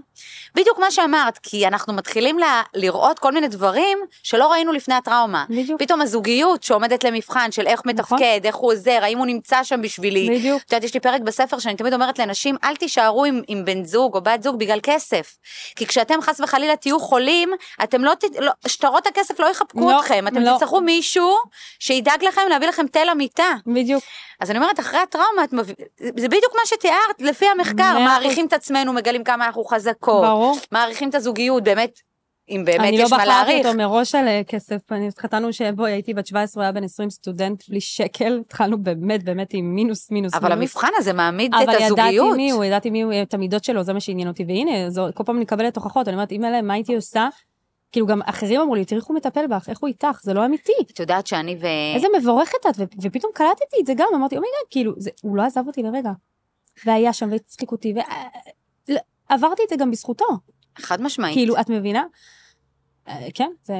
[SPEAKER 2] בדיוק מה שאמרת, כי אנחנו מתחילים ל- לראות כל מיני דברים שלא ראינו לפני הטראומה.
[SPEAKER 1] בדיוק,
[SPEAKER 2] פתאום הזוגיות שעומדת למבחן של איך
[SPEAKER 1] נכון.
[SPEAKER 2] מתפקד, איך הוא עוזר, האם הוא נמצא שם בשבילי.
[SPEAKER 1] בדיוק.
[SPEAKER 2] את יודעת, יש לי פרק בספר שאני תמיד אומרת לנשים, אל תישארו עם, עם בן זוג או בת זוג בגלל כסף. כי כשאתם חס וחלילה תהיו חולים, אתם לא, ת- לא שטרות הכסף לא יחבקו
[SPEAKER 1] לא,
[SPEAKER 2] אתכם, אתם
[SPEAKER 1] לא.
[SPEAKER 2] תצטרכו מישהו שידאג לכם להביא לכם תל למיטה.
[SPEAKER 1] בדיוק.
[SPEAKER 2] אז אני אומרת, אחרי הטראומה, את מב... זה בדיוק מה שתיארת, לפי המחקר,
[SPEAKER 1] מאה אחוז.
[SPEAKER 2] מעריכים את עצמנו, מגלים כמה אנחנו חזקות,
[SPEAKER 1] ברור.
[SPEAKER 2] מעריכים את הזוגיות, באמת, אם באמת
[SPEAKER 1] אני לא
[SPEAKER 2] יש מה
[SPEAKER 1] בחרתי
[SPEAKER 2] להעריך.
[SPEAKER 1] אותו מראש על אה, כסף, אני התחתנו שבואי, הייתי בת 17, הוא היה בן 20 סטודנט, בלי שקל, התחלנו באמת באמת עם מינוס, מינוס,
[SPEAKER 2] אבל
[SPEAKER 1] מינוס.
[SPEAKER 2] המבחן הזה מעמיד את
[SPEAKER 1] אבל ידעתי
[SPEAKER 2] הזוגיות.
[SPEAKER 1] מי הוא, ידעתי מי הוא, את המידות שלו, זה מה שעניין אותי, והנה, זו, כל פעם אני מקבלת הוכחות, אני אומרת, אימא'לה, מה הייתי עושה? כאילו גם אחרים אמרו לי, תראי איך הוא מטפל בך, איך הוא איתך, זה לא אמיתי.
[SPEAKER 2] את יודעת שאני ו...
[SPEAKER 1] איזה מבורכת את, ו- ופתאום קלטתי את זה גם, אמרתי, אומייגאד, כאילו, זה, הוא לא עזב אותי לרגע. והיה שם, והצחיק אותי, ועברתי את זה גם בזכותו.
[SPEAKER 2] חד משמעית.
[SPEAKER 1] כאילו, את מבינה? אה, כן, זה...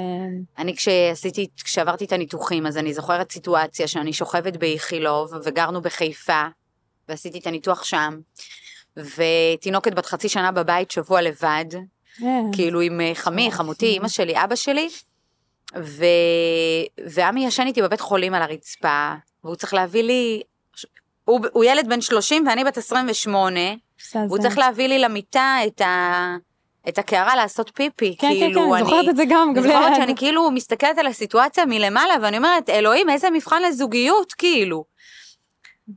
[SPEAKER 2] אני כשעשיתי, כשעברתי את הניתוחים, אז אני זוכרת סיטואציה שאני שוכבת באיכילוב, וגרנו בחיפה, ועשיתי את הניתוח שם, ותינוקת בת חצי שנה בבית, שבוע לבד,
[SPEAKER 1] אה,
[SPEAKER 2] כאילו עם אה, חמי,
[SPEAKER 1] אוי,
[SPEAKER 2] חמותי,
[SPEAKER 1] אוי.
[SPEAKER 2] אימא שלי, אבא שלי, ו... ועמי ישן איתי בבית חולים על הרצפה, והוא צריך להביא לי, הוא, הוא ילד בן 30 ואני בת 28,
[SPEAKER 1] מזעזע.
[SPEAKER 2] והוא צריך להביא לי למיטה את, ה... את הקערה לעשות פיפי,
[SPEAKER 1] כן, כן,
[SPEAKER 2] כאילו
[SPEAKER 1] כן, אני
[SPEAKER 2] אני...
[SPEAKER 1] זוכרת את זה גם,
[SPEAKER 2] אני
[SPEAKER 1] גם
[SPEAKER 2] זוכרת
[SPEAKER 1] לי-
[SPEAKER 2] שאני כאילו מסתכלת על הסיטואציה מלמעלה, ואני אומרת, אלוהים, איזה מבחן לזוגיות, כאילו.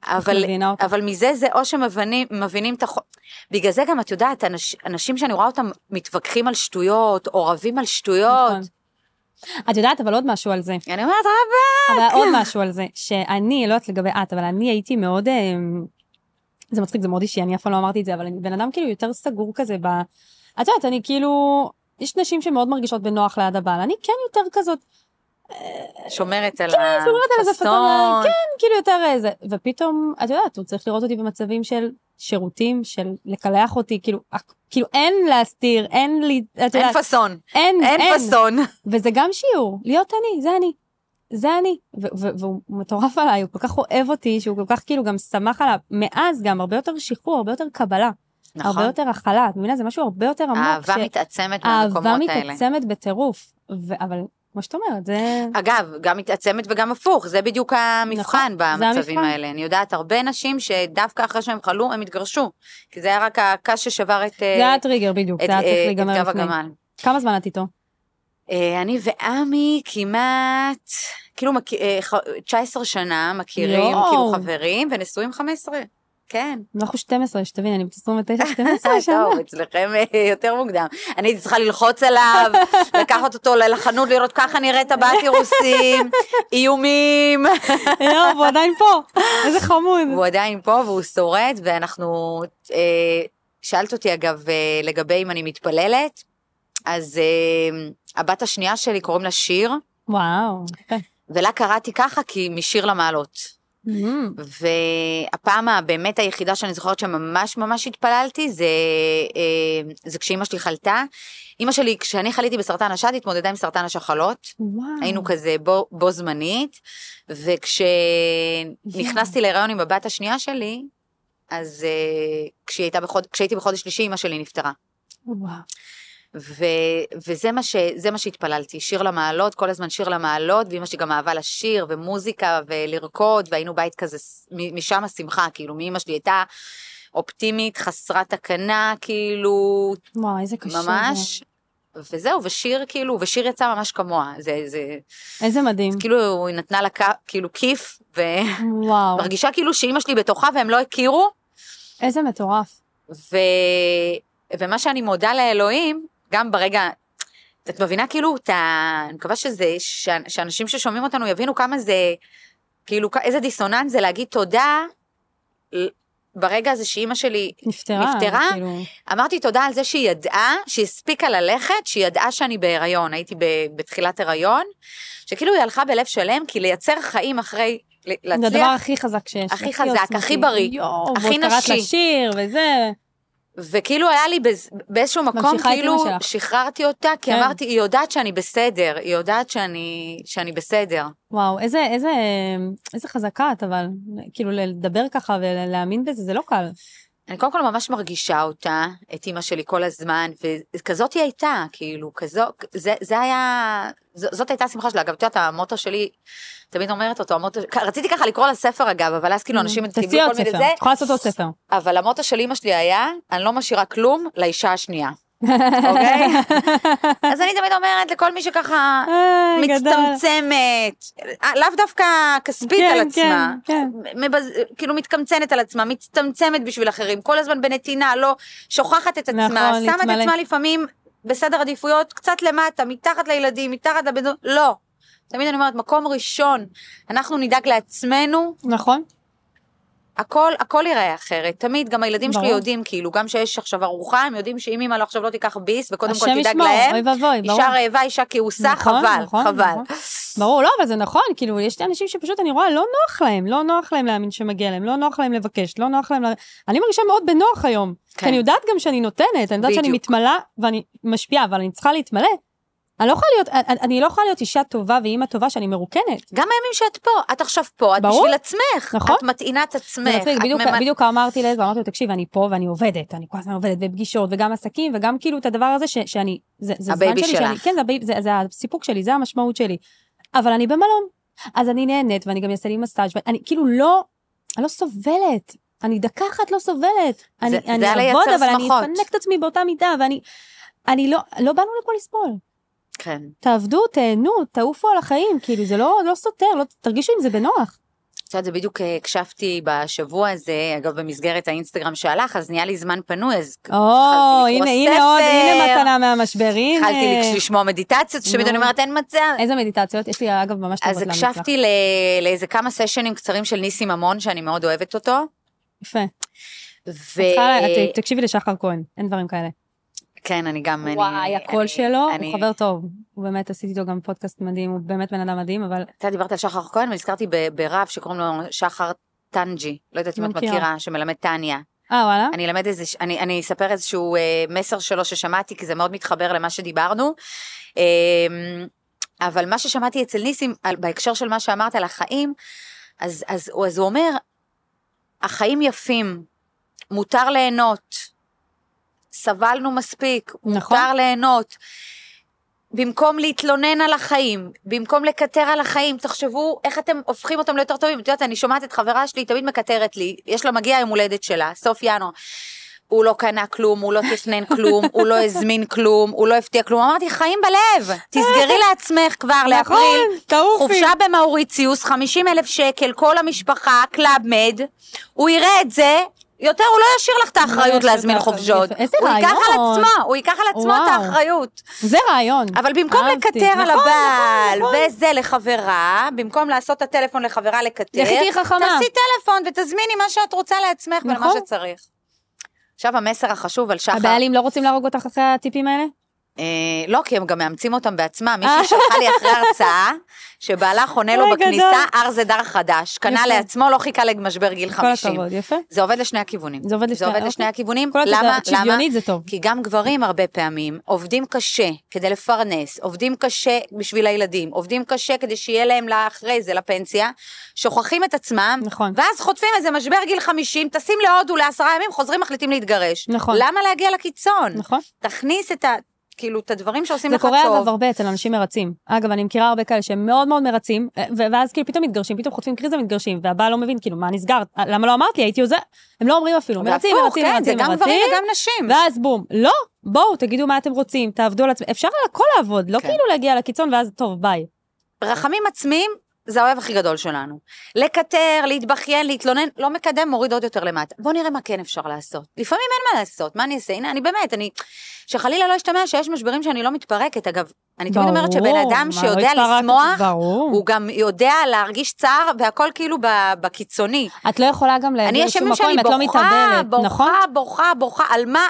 [SPEAKER 2] אבל,
[SPEAKER 1] מבינה אותך.
[SPEAKER 2] אבל מזה זה או שמבינים מבינים את החוק. בגלל זה גם, את יודעת, אנש, אנשים שאני רואה אותם מתווכחים על שטויות, או רבים על שטויות.
[SPEAKER 1] נכון. את יודעת, אבל עוד משהו על זה.
[SPEAKER 2] אני אומרת, רב,
[SPEAKER 1] אבל עוד
[SPEAKER 2] כן.
[SPEAKER 1] משהו על זה, שאני, לא יודעת לגבי את, אבל אני הייתי מאוד, אמ, זה מצחיק, זה מאוד אישי, אני אף פעם לא אמרתי את זה, אבל אני בן אדם כאילו יותר סגור כזה ב... את יודעת, אני כאילו, יש נשים שמאוד מרגישות בנוח ליד הבעל, אני כן יותר כזאת,
[SPEAKER 2] שומרת על
[SPEAKER 1] כן, שומרת על איזה
[SPEAKER 2] החסון.
[SPEAKER 1] פטרנל, כאילו יותר איזה, ופתאום, את יודעת, הוא צריך לראות אותי במצבים של שירותים, של לקלח אותי, כאילו, הכ- כאילו אין להסתיר, אין לי, את
[SPEAKER 2] אין
[SPEAKER 1] יודעת,
[SPEAKER 2] פאסון,
[SPEAKER 1] כן, אין,
[SPEAKER 2] אין פאסון.
[SPEAKER 1] וזה גם שיעור, להיות אני, זה אני. זה אני, ו- ו- והוא מטורף עליי, הוא כל כך אוהב אותי, שהוא כל כך כאילו גם שמח עליו, מאז גם הרבה יותר שחרור, הרבה יותר קבלה, הרבה
[SPEAKER 2] נכון.
[SPEAKER 1] יותר הכלה, את מבינה? זה משהו הרבה יותר עמוק,
[SPEAKER 2] אהבה
[SPEAKER 1] ש-
[SPEAKER 2] מתעצמת
[SPEAKER 1] האהבה
[SPEAKER 2] מהמקומות האלה.
[SPEAKER 1] מתעצמת בטירוף, ו- אבל כמו שאת אומרת, זה...
[SPEAKER 2] אגב, גם מתעצמת וגם הפוך, זה בדיוק המבחן
[SPEAKER 1] נכון, זה
[SPEAKER 2] במצבים
[SPEAKER 1] המבחן.
[SPEAKER 2] האלה. אני יודעת הרבה נשים שדווקא אחרי שהם חלו, הם התגרשו. כי זה היה רק הקש ששבר את... אה,
[SPEAKER 1] זה היה הטריגר בדיוק, זה היה צריך להיגמר
[SPEAKER 2] גב
[SPEAKER 1] לפני.
[SPEAKER 2] הגמל.
[SPEAKER 1] כמה זמן את איתו?
[SPEAKER 2] אה, אני ועמי כמעט, כאילו, מכ- אה, ח- 19 שנה מכירים,
[SPEAKER 1] יואו.
[SPEAKER 2] כאילו חברים, ונשואים 15. כן.
[SPEAKER 1] אנחנו 12, שתבין, אני בת 29,
[SPEAKER 2] אה,
[SPEAKER 1] 12 שנה.
[SPEAKER 2] טוב, אצלכם אה, יותר מוקדם. אני הייתי צריכה ללחוץ עליו, לקחת אותו לחנות, לראות ככה נראית הבעת אירוסים, איומים.
[SPEAKER 1] יואו, והוא עדיין פה, איזה חמוד.
[SPEAKER 2] והוא עדיין פה והוא שורד, ואנחנו... אה, שאלת אותי אגב אה, לגבי אם אני מתפללת, אז אה, הבת השנייה שלי קוראים לה שיר,
[SPEAKER 1] וואו. יפה.
[SPEAKER 2] ולה קראתי ככה כי משיר למעלות.
[SPEAKER 1] מהמם.
[SPEAKER 2] והפעם הבאמת היחידה שאני זוכרת שממש ממש התפללתי זה, אה, זה כשאימא שלי חלתה. אימא שלי, כשאני חליתי בסרטן השד, התמודדה עם סרטן השחלות.
[SPEAKER 1] וואו.
[SPEAKER 2] היינו כזה בו, בו זמנית, וכשנכנסתי להיריון עם הבת השנייה שלי, אז uh, כשהייתה בחוד, כשהייתי בחודש שלישי, אימא שלי נפטרה.
[SPEAKER 1] וואו.
[SPEAKER 2] ו, וזה מה, ש, זה מה שהתפללתי, שיר למעלות, כל הזמן שיר למעלות, ואימא שלי גם אהבה לשיר ומוזיקה ולרקוד, והיינו בית כזה, ס- מ- משם השמחה, כאילו, מאימא שלי הייתה אופטימית, חסרת תקנה, כאילו,
[SPEAKER 1] וואו, איזה קשה. זה.
[SPEAKER 2] ממש. וזהו, ושיר כאילו, ושיר יצא ממש כמוה, זה, זה,
[SPEAKER 1] איזה מדהים.
[SPEAKER 2] כאילו היא נתנה לה ק- כאילו כיף,
[SPEAKER 1] וואו.
[SPEAKER 2] ומרגישה כאילו שאימא שלי בתוכה והם לא הכירו,
[SPEAKER 1] איזה מטורף.
[SPEAKER 2] ו... ומה שאני מודה לאלוהים, גם ברגע, את מבינה כאילו את ה... אני מקווה שזה, ש... שאנשים ששומעים אותנו יבינו כמה זה, כאילו כ- איזה דיסוננס זה להגיד תודה ל- ברגע הזה שאימא שלי,
[SPEAKER 1] נפטרה.
[SPEAKER 2] נפטרה?
[SPEAKER 1] כאילו.
[SPEAKER 2] אמרתי תודה על זה שהיא ידעה, שהיא הספיקה ללכת, שהיא ידעה שאני בהיריון, הייתי ב... בתחילת הריון, שכאילו היא הלכה בלב שלם, כי לייצר חיים אחרי, ל-
[SPEAKER 1] זה
[SPEAKER 2] להצליח
[SPEAKER 1] הדבר הכי חזק שיש.
[SPEAKER 2] הכי חזק, הכי בריא,
[SPEAKER 1] יואו,
[SPEAKER 2] הכי
[SPEAKER 1] ועוד קראת
[SPEAKER 2] נשי.
[SPEAKER 1] לשיר וזה.
[SPEAKER 2] וכאילו היה לי בז... באיזשהו מקום,
[SPEAKER 1] ממשיכה את
[SPEAKER 2] כאילו
[SPEAKER 1] אמא שלך.
[SPEAKER 2] שחררתי אותה, כי
[SPEAKER 1] כן.
[SPEAKER 2] אמרתי, היא יודעת שאני בסדר, היא יודעת שאני, שאני בסדר.
[SPEAKER 1] וואו, איזה, איזה, איזה חזקה את, אבל, כאילו, לדבר ככה ולהאמין בזה, זה לא קל.
[SPEAKER 2] אני קודם כל ממש מרגישה אותה, את אימא שלי כל הזמן, וכזאת היא הייתה, כאילו, כזו, זה, זה היה, ז, זאת הייתה השמחה שלה. אגב, את יודעת, המוטו שלי, תמיד אומרת אותו, המוטו, רציתי ככה לקרוא לספר אגב, אבל אז כאילו אנשים קיבלו
[SPEAKER 1] תציע Mm-hmm. עוד
[SPEAKER 2] כל מיני
[SPEAKER 1] ספר, נכון.
[SPEAKER 2] זה,
[SPEAKER 1] את יכולה לעשות עוד ספר.
[SPEAKER 2] אבל המוטו של אימא שלי היה, אני לא משאירה כלום לאישה השנייה, אוקיי? אז אני תמיד אומרת לכל מי שככה
[SPEAKER 1] אה, גדול.
[SPEAKER 2] מצטמצמת, אה, לאו דווקא כספית
[SPEAKER 1] כן,
[SPEAKER 2] על עצמה,
[SPEAKER 1] כן,
[SPEAKER 2] מבז... כאילו מתקמצנת על עצמה, מצטמצמת בשביל אחרים, כל הזמן בנתינה, לא שוכחת את עצמה,
[SPEAKER 1] נכון,
[SPEAKER 2] שמה את
[SPEAKER 1] להתמלא.
[SPEAKER 2] עצמה לפעמים בסדר עדיפויות קצת למטה, מתחת לילדים, מתחת לבן זוג, לא. תמיד אני אומרת, מקום ראשון, אנחנו נדאג לעצמנו,
[SPEAKER 1] כן. נכון?
[SPEAKER 2] הכל, הכל ייראה אחרת. תמיד, גם הילדים שלי
[SPEAKER 1] ברור.
[SPEAKER 2] יודעים, כאילו, גם שיש עכשיו ארוחה, הם יודעים שאם אמא לא עכשיו לא תיקח ביס, וקודם כל
[SPEAKER 1] השם
[SPEAKER 2] תדאג
[SPEAKER 1] ישמור,
[SPEAKER 2] להם,
[SPEAKER 1] אוי ואבוי, ברור.
[SPEAKER 2] אישה רעבה, אישה כעוסה,
[SPEAKER 1] נכון,
[SPEAKER 2] חבל,
[SPEAKER 1] נכון,
[SPEAKER 2] חבל.
[SPEAKER 1] נכון. ברור, לא, אבל זה נכון, כאילו, יש אנשים שפשוט, אני רואה, לא נוח להם, לא נוח להם להאמין שמגיע להם, לא נוח להם לבקש, לא נוח להם... ל- אני מרגישה מאוד בנוח היום,
[SPEAKER 2] כן.
[SPEAKER 1] כי אני יודעת גם שאני נותנת, אני יודעת שאני
[SPEAKER 2] בדיוק.
[SPEAKER 1] מתמלאה, ואני משפיעה, אבל אני צריכה להתמלא. אני לא יכולה להיות, אני- אני לא יכולה להיות אישה טובה ואימא טובה שאני מרוקנת.
[SPEAKER 2] גם הימים שאת פה, את עכשיו פה, את
[SPEAKER 1] ברור.
[SPEAKER 2] בשביל עצמך.
[SPEAKER 1] נכון.
[SPEAKER 2] את מטעינה את
[SPEAKER 1] זה
[SPEAKER 2] עצמך.
[SPEAKER 1] מצחיק,
[SPEAKER 2] את
[SPEAKER 1] בדיוק-
[SPEAKER 2] ממ-
[SPEAKER 1] בדיוק אמרתי לזה, אמרתי לו, תקשיב, אני פה ואני עובדת, אני כל הזמן עובדת בפגישות, וגם עסקים, וגם כאילו את הדבר הזה ש- שאני, זה זה זמן
[SPEAKER 2] הבייבי
[SPEAKER 1] שלי, שאני,
[SPEAKER 2] שלך.
[SPEAKER 1] כן, זה הבייב- זה- זה הסיפוק שלי, זה המשמעות שלי. אבל אני במלון, אז אני נהנית, ואני גם אעשה לי מסאז', ואני כאילו לא, אני לא סובלת. אני דקה אחת לא סובלת. אני,
[SPEAKER 2] זה
[SPEAKER 1] אני
[SPEAKER 2] היה לייצר
[SPEAKER 1] אעבוד, אבל אני
[SPEAKER 2] שמחות.
[SPEAKER 1] אפנק את עצמי באותה מידה, ואני, אני לא, לא באנו לפה לסבול.
[SPEAKER 2] כן.
[SPEAKER 1] תעבדו, תהנו, תעופו על החיים, כאילו, זה לא, לא סותר, לא, תרגישו עם זה בנוח.
[SPEAKER 2] את יודעת, זה בדיוק אה, הקשבתי בשבוע הזה, אגב, במסגרת האינסטגרם שהלך, אז נהיה לי זמן פנוי, אז
[SPEAKER 1] אה, או,
[SPEAKER 2] לקרוא
[SPEAKER 1] הנה, הנה
[SPEAKER 2] ספר.
[SPEAKER 1] עוד, הנה מתנה מהמשבר, הנה.
[SPEAKER 2] התחלתי לשמוע מדיטציות, שתמיד
[SPEAKER 1] נו.
[SPEAKER 2] אני אומרת, אין מצב.
[SPEAKER 1] איזה מדיטציות? יש לי, אגב, ממש טובות
[SPEAKER 2] אז
[SPEAKER 1] להמליץ לך.
[SPEAKER 2] הקשבתי ל- לאיזה כמה סשנים קצרים של ניסי ממון, שאני מאוד אוהבת אותו.
[SPEAKER 1] יפה.
[SPEAKER 2] ו...
[SPEAKER 1] צריכה- את- תקשיבי לשחר כהן, אין דברים כאלה.
[SPEAKER 2] כן, אני גם... אני-
[SPEAKER 1] וואי, הקול
[SPEAKER 2] אני-
[SPEAKER 1] שלו,
[SPEAKER 2] אני-
[SPEAKER 1] הוא חבר טוב. הוא באמת, עשיתי איתו גם פודקאסט מדהים, הוא באמת בן אדם מדהים, אבל
[SPEAKER 2] אתה דיברת על שחר כהן, ונזכרתי ב- ברב שקוראים לו שחר טנג'י, לא יודעת אם את
[SPEAKER 1] מכירה.
[SPEAKER 2] מכירה, שמלמד טניה.
[SPEAKER 1] אה, וואלה?
[SPEAKER 2] אני אלמד איזה, אני, אני אספר איזשהו אה, מסר שלו ששמעתי, כי זה מאוד מתחבר למה שדיברנו. אה, אבל מה ששמעתי אצל ניסים, על, בהקשר של מה שאמרת על החיים, אז, אז, הוא- אז הוא אומר, החיים יפים, מותר ליהנות, סבלנו מספיק,
[SPEAKER 1] נכון.
[SPEAKER 2] מותר ליהנות. במקום להתלונן על החיים, במקום לקטר על החיים, תחשבו איך אתם הופכים אותם ליותר טובים. את יודעת, אני שומעת את חברה שלי, היא תמיד מקטרת לי, יש לה מגיע יום הולדת שלה, סוף ינואר. הוא לא קנה כלום, הוא לא תכנן כלום, הוא לא הזמין כלום, הוא לא הבטיח כלום. אמרתי, חיים בלב, תסגרי לעצמך כבר
[SPEAKER 1] נכון,
[SPEAKER 2] לאפריל.
[SPEAKER 1] תעופי.
[SPEAKER 2] חופשה במאוריציוס, 50 אלף שקל, כל המשפחה, קלאב מד, הוא יראה את זה, יותר הוא לא ישאיר לך את האחריות
[SPEAKER 1] ישאיר
[SPEAKER 2] להזמין
[SPEAKER 1] לך,
[SPEAKER 2] חופשות.
[SPEAKER 1] איזה
[SPEAKER 2] הוא ייקח על
[SPEAKER 1] רעיון.
[SPEAKER 2] עצמו, הוא ייקח על עצמו את
[SPEAKER 1] וואו.
[SPEAKER 2] האחריות.
[SPEAKER 1] זה רעיון.
[SPEAKER 2] אבל במקום
[SPEAKER 1] אהבתי.
[SPEAKER 2] לקטר על
[SPEAKER 1] נכון,
[SPEAKER 2] הבעל,
[SPEAKER 1] נכון, נכון.
[SPEAKER 2] וזה לחברה, במקום לעשות את הטלפון לחברה לקטר,
[SPEAKER 1] לכי תהיי חכמה.
[SPEAKER 2] תעשי טלפון ותזמיני מה שאת רוצה לעצמך ולמה
[SPEAKER 1] נכון.
[SPEAKER 2] שצריך. עכשיו המסר החשוב על שחר.
[SPEAKER 1] הבעלים לא רוצים להרוג אותך אחרי הטיפים האלה?
[SPEAKER 2] אה, לא, כי הם גם מאמצים אותם בעצמם. מישהי שלחה לי אחרי הרצאה, שבעלה חונה לו
[SPEAKER 1] אוי, גדול.
[SPEAKER 2] בכניסה אר זה דר חדש. קנה
[SPEAKER 1] יפה.
[SPEAKER 2] לעצמו, לא חיכה למשבר גיל
[SPEAKER 1] כל
[SPEAKER 2] 50.
[SPEAKER 1] הכבוד, יפה.
[SPEAKER 2] זה עובד לשני הכיוונים.
[SPEAKER 1] זה עובד
[SPEAKER 2] זה
[SPEAKER 1] לשני-
[SPEAKER 2] עובד
[SPEAKER 1] אוקיי.
[SPEAKER 2] לשני הכיוונים.
[SPEAKER 1] כל עוד זה
[SPEAKER 2] למה? למה?
[SPEAKER 1] שוויונית זה טוב.
[SPEAKER 2] כי גם גברים הרבה פעמים עובדים קשה כדי לפרנס, עובדים קשה בשביל הילדים, עובדים קשה כדי שיהיה להם לאחרי זה, לפנסיה, שוכחים את עצמם,
[SPEAKER 1] נכון.
[SPEAKER 2] ואז חוטפים איזה משבר גיל 50, טסים להודו לעשרה ימים, חוזרים, מחליטים להתגרש.
[SPEAKER 1] נכון.
[SPEAKER 2] למה להגיע לקיצון?
[SPEAKER 1] נכון.
[SPEAKER 2] תכניס את ה... כאילו, את הדברים שעושים
[SPEAKER 1] זה
[SPEAKER 2] לך טוב.
[SPEAKER 1] קורה אגב הרבה אצל אנשים מרצים. אגב, אני מכירה הרבה כאלה שהם מאוד מאוד מרצים, ו- ואז כאילו פתאום מתגרשים, פתאום חוטפים קריזה ומתגרשים, והבעל לא מבין, כאילו, מה נסגרת? למה לא אמרת לי? הייתי עוזר. הם לא אומרים אפילו, מרצים,
[SPEAKER 2] והפוך,
[SPEAKER 1] מרצים,
[SPEAKER 2] כן, זה
[SPEAKER 1] מרצים,
[SPEAKER 2] גם גברים
[SPEAKER 1] מרצים,
[SPEAKER 2] וגם נשים.
[SPEAKER 1] ואז בום, לא, בואו, תגידו מה אתם רוצים, תעבדו על עצמכם. אפשר על הכל לעבוד, לא
[SPEAKER 2] כן.
[SPEAKER 1] כאילו להגיע לקיצון ואז טוב, ביי.
[SPEAKER 2] רחמים עצמיים זה האויב הכי גדול שלנו. לקטר, להתבכיין, להתלונן, לא מקדם, מוריד עוד יותר למטה. בואו נראה מה כן אפשר לעשות. לפעמים אין מה לעשות, מה אני אעשה? הנה, אני באמת, אני... שחלילה לא ישתמע שיש משברים שאני לא מתפרקת. אגב, אני תמיד אומרת שבן
[SPEAKER 1] ברור,
[SPEAKER 2] אדם
[SPEAKER 1] מה,
[SPEAKER 2] שיודע
[SPEAKER 1] לא התפרקת,
[SPEAKER 2] לשמוח,
[SPEAKER 1] ברור.
[SPEAKER 2] הוא גם יודע להרגיש צער, והכל כאילו ב- בקיצוני.
[SPEAKER 1] את לא יכולה גם
[SPEAKER 2] אני
[SPEAKER 1] להגיע
[SPEAKER 2] יש
[SPEAKER 1] לשום
[SPEAKER 2] ימים
[SPEAKER 1] מקום
[SPEAKER 2] שאני
[SPEAKER 1] אם את לא
[SPEAKER 2] בוכה,
[SPEAKER 1] מתאבדת, נכון?
[SPEAKER 2] בוכה, בוכה, בוכה, על מה?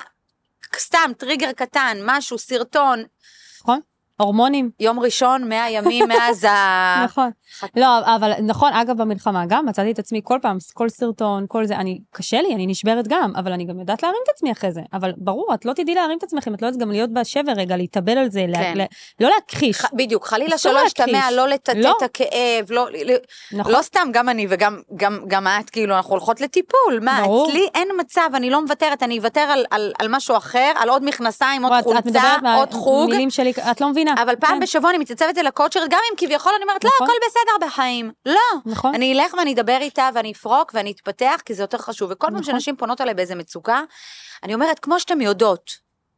[SPEAKER 2] סתם, טריגר קטן, משהו, סרטון,
[SPEAKER 1] נכון? הורמונים.
[SPEAKER 2] יום ראשון, 100 ימים מאז ה...
[SPEAKER 1] נכון. לא, אבל נכון, אגב, במלחמה גם מצאתי את עצמי כל פעם, כל סרטון, כל זה, אני, קשה לי, אני נשברת גם, אבל אני גם יודעת להרים את עצמי אחרי זה. אבל ברור, את לא תדעי להרים את עצמך אם את לא יודעת גם להיות בשבר רגע, להתאבל על זה, לה-
[SPEAKER 2] כן.
[SPEAKER 1] לה- לא להכחיש,
[SPEAKER 2] ח- בדיוק, חלילה
[SPEAKER 1] אסור
[SPEAKER 2] שלא
[SPEAKER 1] להכחיש.
[SPEAKER 2] ישתמע, לא לטאטא
[SPEAKER 1] לא.
[SPEAKER 2] את הכאב, לא, ל-
[SPEAKER 1] נכון?
[SPEAKER 2] לא סתם, גם אני וגם גם, גם את, כאילו, אנחנו הולכות לטיפול, מה,
[SPEAKER 1] ברור.
[SPEAKER 2] אצלי אין מצב, אני לא מוותרת, אני אוותר על, על, על משהו אחר, על עוד מכנסיים, עוד
[SPEAKER 1] וואט, את
[SPEAKER 2] חולצה,
[SPEAKER 1] מדברת מה-
[SPEAKER 2] עוד חוג,
[SPEAKER 1] מילים שלי, את לא מבינה.
[SPEAKER 2] אבל פעם
[SPEAKER 1] כן,
[SPEAKER 2] בשבוע אני מתייצבת אל הקואוצ'רית, גם אם כביכול אני אומרת, לא,
[SPEAKER 1] נכון.
[SPEAKER 2] הכל בסדר בחיים. לא,
[SPEAKER 1] נכון?
[SPEAKER 2] אני אלך ואני אדבר איתה ואני אפרוק ואני אתפתח, כי זה יותר חשוב. וכל פעם
[SPEAKER 1] נכון.
[SPEAKER 2] שנשים פונות אליי באיזה מצוקה, אני אומרת, כמו שאתן יודעות,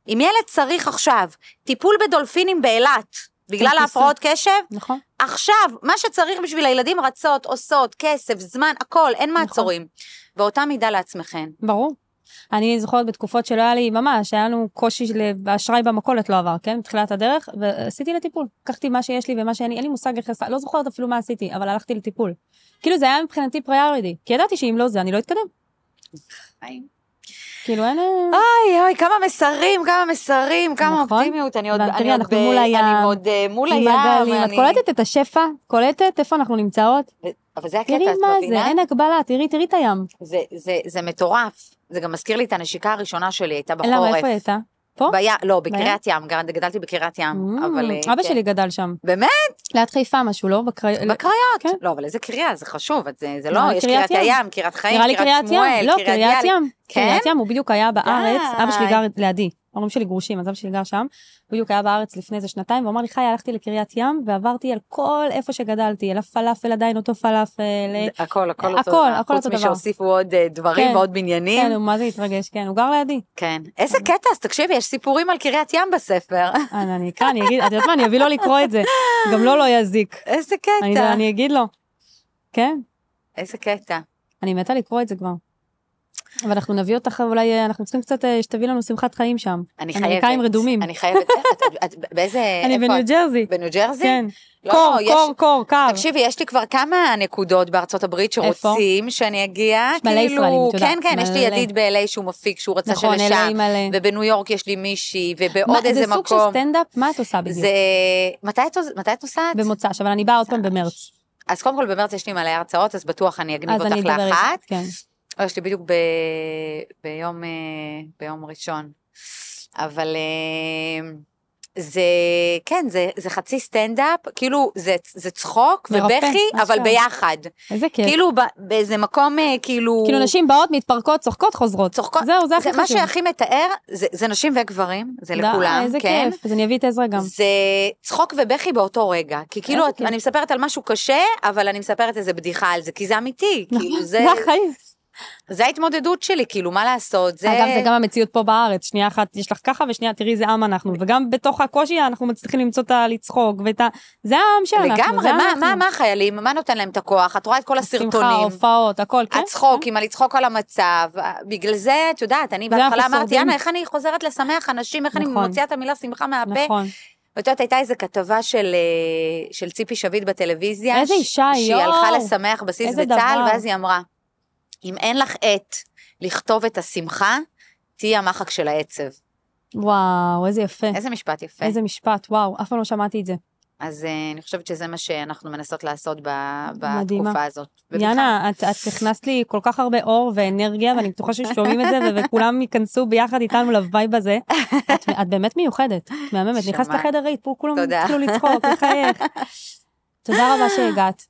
[SPEAKER 2] אם ילד צריך עכשיו טיפול בדולפינים באילת, בגלל
[SPEAKER 1] תיסעו.
[SPEAKER 2] ההפרעות קשב,
[SPEAKER 1] נכון.
[SPEAKER 2] עכשיו, מה שצריך בשביל הילדים רצות, עושות, כסף, זמן, הכל, אין מעצורים. באותה מידה לעצמכן.
[SPEAKER 1] ברור. אני זוכרת בתקופות שלא היה לי ממש, היה לנו קושי באשראי במכולת לא עבר, כן? בתחילת הדרך, ועשיתי לטיפול. לקחתי מה שיש לי ומה שאין לי, אין לי מושג איך עשה, לא זוכרת אפילו מה עשיתי, אבל הלכתי לטיפול. כאילו זה היה מבחינתי פריאריטי, כי ידעתי שאם לא זה אני לא אתקדם. כאילו אין... אה,
[SPEAKER 2] אוי אוי, כמה מסרים, כמה מסרים, כמה
[SPEAKER 1] נכון.
[SPEAKER 2] אופטימיות. אני עוד,
[SPEAKER 1] אבל
[SPEAKER 2] אני
[SPEAKER 1] תראי,
[SPEAKER 2] עוד,
[SPEAKER 1] אנחנו
[SPEAKER 2] ב-
[SPEAKER 1] מול הים,
[SPEAKER 2] אני עוד אה, מול
[SPEAKER 1] עם
[SPEAKER 2] הים.
[SPEAKER 1] הגלים, את
[SPEAKER 2] אני-
[SPEAKER 1] קולטת את השפע? קולטת איפה אנחנו נמצאות?
[SPEAKER 2] אבל זה הקטע,
[SPEAKER 1] תראי
[SPEAKER 2] את
[SPEAKER 1] מה זה,
[SPEAKER 2] מבינה?
[SPEAKER 1] אין הגבלה, תראי, תראי את הים.
[SPEAKER 2] זה, זה, זה מטורף. זה גם מזכיר לי את הנשיקה הראשונה שלי, הייתה בחורף.
[SPEAKER 1] למה, איפה היא הייתה? פה?
[SPEAKER 2] בים, לא, בקריית ים, גר- גדלתי בקריית ים,
[SPEAKER 1] Mm,
[SPEAKER 2] אבל... אה,
[SPEAKER 1] אבא
[SPEAKER 2] כן.
[SPEAKER 1] שלי גדל שם,
[SPEAKER 2] באמת?
[SPEAKER 1] ליד חיפה משהו, לא? בקרי- כן.
[SPEAKER 2] בקריות. לא, אבל איזה קריה, זה חשוב, את זה זה לא,
[SPEAKER 1] נראה לי
[SPEAKER 2] יש
[SPEAKER 1] קריית
[SPEAKER 2] קריית
[SPEAKER 1] ים.
[SPEAKER 2] הים, קריית חיים,
[SPEAKER 1] נראה לי
[SPEAKER 2] קריית
[SPEAKER 1] קריית ים,
[SPEAKER 2] שמואל,
[SPEAKER 1] לא,
[SPEAKER 2] קריית
[SPEAKER 1] קריית
[SPEAKER 2] ים.
[SPEAKER 1] ים.
[SPEAKER 2] כן? אה, אוקיי.
[SPEAKER 1] קריית ים, הוא בדיוק היה בארץ,
[SPEAKER 2] די.
[SPEAKER 1] אבא שלי גר לידי, ההורים שלי גרושים, אז אבא שלי גר שם, הוא בדיוק היה בארץ לפני איזה שנתיים, והוא אמר לי, חי, הלכתי לקריית ים, ועברתי על כל איפה שגדלתי, על הפלאפל עדיין אותו פלאפל,
[SPEAKER 2] הכל, הכל אותו
[SPEAKER 1] אה, הכל,
[SPEAKER 2] דבר.
[SPEAKER 1] הכל
[SPEAKER 2] חוץ
[SPEAKER 1] אותו דבר.
[SPEAKER 2] משהוסיפו עוד אה, דברים
[SPEAKER 1] כן.
[SPEAKER 2] ועוד
[SPEAKER 1] כן,
[SPEAKER 2] בניינים.
[SPEAKER 1] הוא מה זה התרגש, כן, הוא גר לידי.
[SPEAKER 2] כן. איזה קטע, אז תקשיבי, יש סיפורים על קריית ים בספר.
[SPEAKER 1] אני אני אקרא, אני אגיד, את יודעת מה, אני אביא לו לקרוא את זה, גם לו לא יזיק.
[SPEAKER 2] איזה
[SPEAKER 1] לא, אני-
[SPEAKER 2] קטע.
[SPEAKER 1] אני אגיד לו. כן,
[SPEAKER 2] איזה קטע.
[SPEAKER 1] אני מתה לקרוא את זה כבר. אבל אנחנו נביא אותך, אולי אה, אנחנו צריכים קצת אה, שתביא לנו שמחת חיים שם.
[SPEAKER 2] אני חייבת.
[SPEAKER 1] אמריקאים רדומים.
[SPEAKER 2] אני חייבת. איך את- את- באיזה...
[SPEAKER 1] אני
[SPEAKER 2] אה, איפה
[SPEAKER 1] בניו
[SPEAKER 2] את?
[SPEAKER 1] ג'רזי.
[SPEAKER 2] בניו ג'רזי?
[SPEAKER 1] כן.
[SPEAKER 2] לא,
[SPEAKER 1] קור,
[SPEAKER 2] יש-
[SPEAKER 1] קור, קור, קר.
[SPEAKER 2] תקשיבי, יש לי כבר כמה נקודות בארצות הברית שרוצים שאני אגיע,
[SPEAKER 1] יש מלא ישראלים,
[SPEAKER 2] כאילו,
[SPEAKER 1] את יודעת,
[SPEAKER 2] כן, כן, יש לי
[SPEAKER 1] מלא.
[SPEAKER 2] ידיד ב-LA שהוא מפיק, שהוא רצה
[SPEAKER 1] נכון,
[SPEAKER 2] שלשם,
[SPEAKER 1] אלה מלא.
[SPEAKER 2] ובניו יורק יש לי מישהי,
[SPEAKER 1] מה,
[SPEAKER 2] ובעוד איזה
[SPEAKER 1] זה סוג של
[SPEAKER 2] מקום.
[SPEAKER 1] סטנדאפ? מה את עושה בדיוק?
[SPEAKER 2] זה... מתי את עוז- מתי את נוסעת?
[SPEAKER 1] במוצ"ש, אבל אני באה עוד פעם
[SPEAKER 2] אה,
[SPEAKER 1] במרץ.
[SPEAKER 2] אז קודם כל במרץ יש לי מלא הרצאות, אז בטוח אני אגניב
[SPEAKER 1] אז אני
[SPEAKER 2] אותך
[SPEAKER 1] אדבר איתך.
[SPEAKER 2] לאחת.
[SPEAKER 1] כן.
[SPEAKER 2] או, יש לי בדיוק ב... ביום, אה, ביום ראשון. אבל אה, זה, כן, זה, זה חצי סטנדאפ, כאילו זה, זה צחוק
[SPEAKER 1] מרפא,
[SPEAKER 2] ובכי, אבל
[SPEAKER 1] אשכרה.
[SPEAKER 2] ביחד.
[SPEAKER 1] איזה כיף.
[SPEAKER 2] כאילו ב, באיזה מקום, אה, כאילו...
[SPEAKER 1] כן. כאילו נשים באות, מתפרקות, צוחקות, חוזרות.
[SPEAKER 2] צוחקות.
[SPEAKER 1] זהו, זה הכי
[SPEAKER 2] מה
[SPEAKER 1] חשוב.
[SPEAKER 2] שהכי מתאר, זה, זה נשים וגברים, זה
[SPEAKER 1] די,
[SPEAKER 2] לכולם,
[SPEAKER 1] איזה
[SPEAKER 2] כן?
[SPEAKER 1] כיף. אז אני אביא את עזרא גם.
[SPEAKER 2] זה צחוק ובכי באותו רגע, כי כאילו
[SPEAKER 1] איזה
[SPEAKER 2] את,
[SPEAKER 1] כיף.
[SPEAKER 2] אני מספרת על משהו קשה, אבל אני מספרת איזה בדיחה על זה, כי זה אמיתי, כאילו זה,
[SPEAKER 1] זה החיים.
[SPEAKER 2] זה ההתמודדות שלי, כאילו מה לעשות, זה...
[SPEAKER 1] אגב, זה גם המציאות פה בארץ. שנייה אחת יש לך ככה, ושנייה תראי איזה עם אנחנו. וגם בתוך הקושי אנחנו מצליחים למצוא את הלצחוק, ואת ה... זה העם שלנו.
[SPEAKER 2] לגמרי,
[SPEAKER 1] זה
[SPEAKER 2] מה,
[SPEAKER 1] אנחנו.
[SPEAKER 2] מה, מה החיילים, מה נותן להם את הכוח? את רואה את כל
[SPEAKER 1] שמחה,
[SPEAKER 2] הסרטונים.
[SPEAKER 1] הופעות, הכל, כן?
[SPEAKER 2] הצחוקים, הלצחוק על המצב, אה, בגלל זה, את יודעת, אני
[SPEAKER 1] זה
[SPEAKER 2] בהתחלה
[SPEAKER 1] אנחנו
[SPEAKER 2] אמרתי,
[SPEAKER 1] שורדים.
[SPEAKER 2] יאנה, איך אני חוזרת לשמח אנשים, איך אני
[SPEAKER 1] נכון.
[SPEAKER 2] מוציאה את המילה שמחה מהפה.
[SPEAKER 1] נכון.
[SPEAKER 2] ואת יודעת, הייתה איזו כתבה של, אה, של ציפי שביט בטלוויזיה.
[SPEAKER 1] איזה
[SPEAKER 2] ש-
[SPEAKER 1] אישה,
[SPEAKER 2] שהיא
[SPEAKER 1] יואו.
[SPEAKER 2] הלכה לשמח בסיס
[SPEAKER 1] איזה
[SPEAKER 2] בצה"ל,
[SPEAKER 1] דבר.
[SPEAKER 2] ואז היא אמרה, אם אין לך עט לכתוב את השמחה, תהיי המחק של העצב.
[SPEAKER 1] וואו, איזה יפה.
[SPEAKER 2] איזה משפט יפה.
[SPEAKER 1] כן. איזה משפט, וואו, אף פעם לא שמעתי את זה.
[SPEAKER 2] אז אה, אני חושבת שזה מה שאנחנו מנסות לעשות ב-
[SPEAKER 1] מדהימה.
[SPEAKER 2] בתקופה הזאת. ובכלל,
[SPEAKER 1] יאנה, את, את הכנסת לי כל כך הרבה אור ואנרגיה, ואני בטוחה ששומעים את זה, ו- וכולם ייכנסו ביחד איתנו לווייב הזה. את, את באמת מיוחדת, את מהממת. נכנסת
[SPEAKER 2] שמעת.
[SPEAKER 1] לחדר ראית, פה כולם
[SPEAKER 2] תודה.
[SPEAKER 1] התחילו לצחוק, לחייך. תודה רבה שהגעת,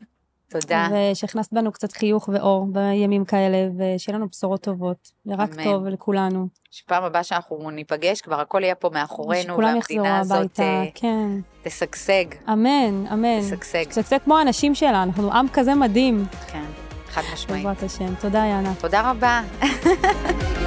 [SPEAKER 2] תודה.
[SPEAKER 1] ושהכנסת בנו קצת חיוך ואור בימים כאלה, ושיהיה לנו בשורות טובות, ורק
[SPEAKER 2] אמן.
[SPEAKER 1] טוב לכולנו.
[SPEAKER 2] שפעם הבאה שאנחנו ניפגש, כבר הכל יהיה פה מאחורינו,
[SPEAKER 1] שכולם יחזרו
[SPEAKER 2] והמדינה הזאת
[SPEAKER 1] הביתה,
[SPEAKER 2] אה,
[SPEAKER 1] כן.
[SPEAKER 2] תשגשג,
[SPEAKER 1] אמן, אמן.
[SPEAKER 2] תשגשג,
[SPEAKER 1] שגשג כמו האנשים שלה, אנחנו עם כזה מדהים,
[SPEAKER 2] כן, חד משמעית.
[SPEAKER 1] בעזרת השם. תודה, יאנה.
[SPEAKER 2] תודה רבה.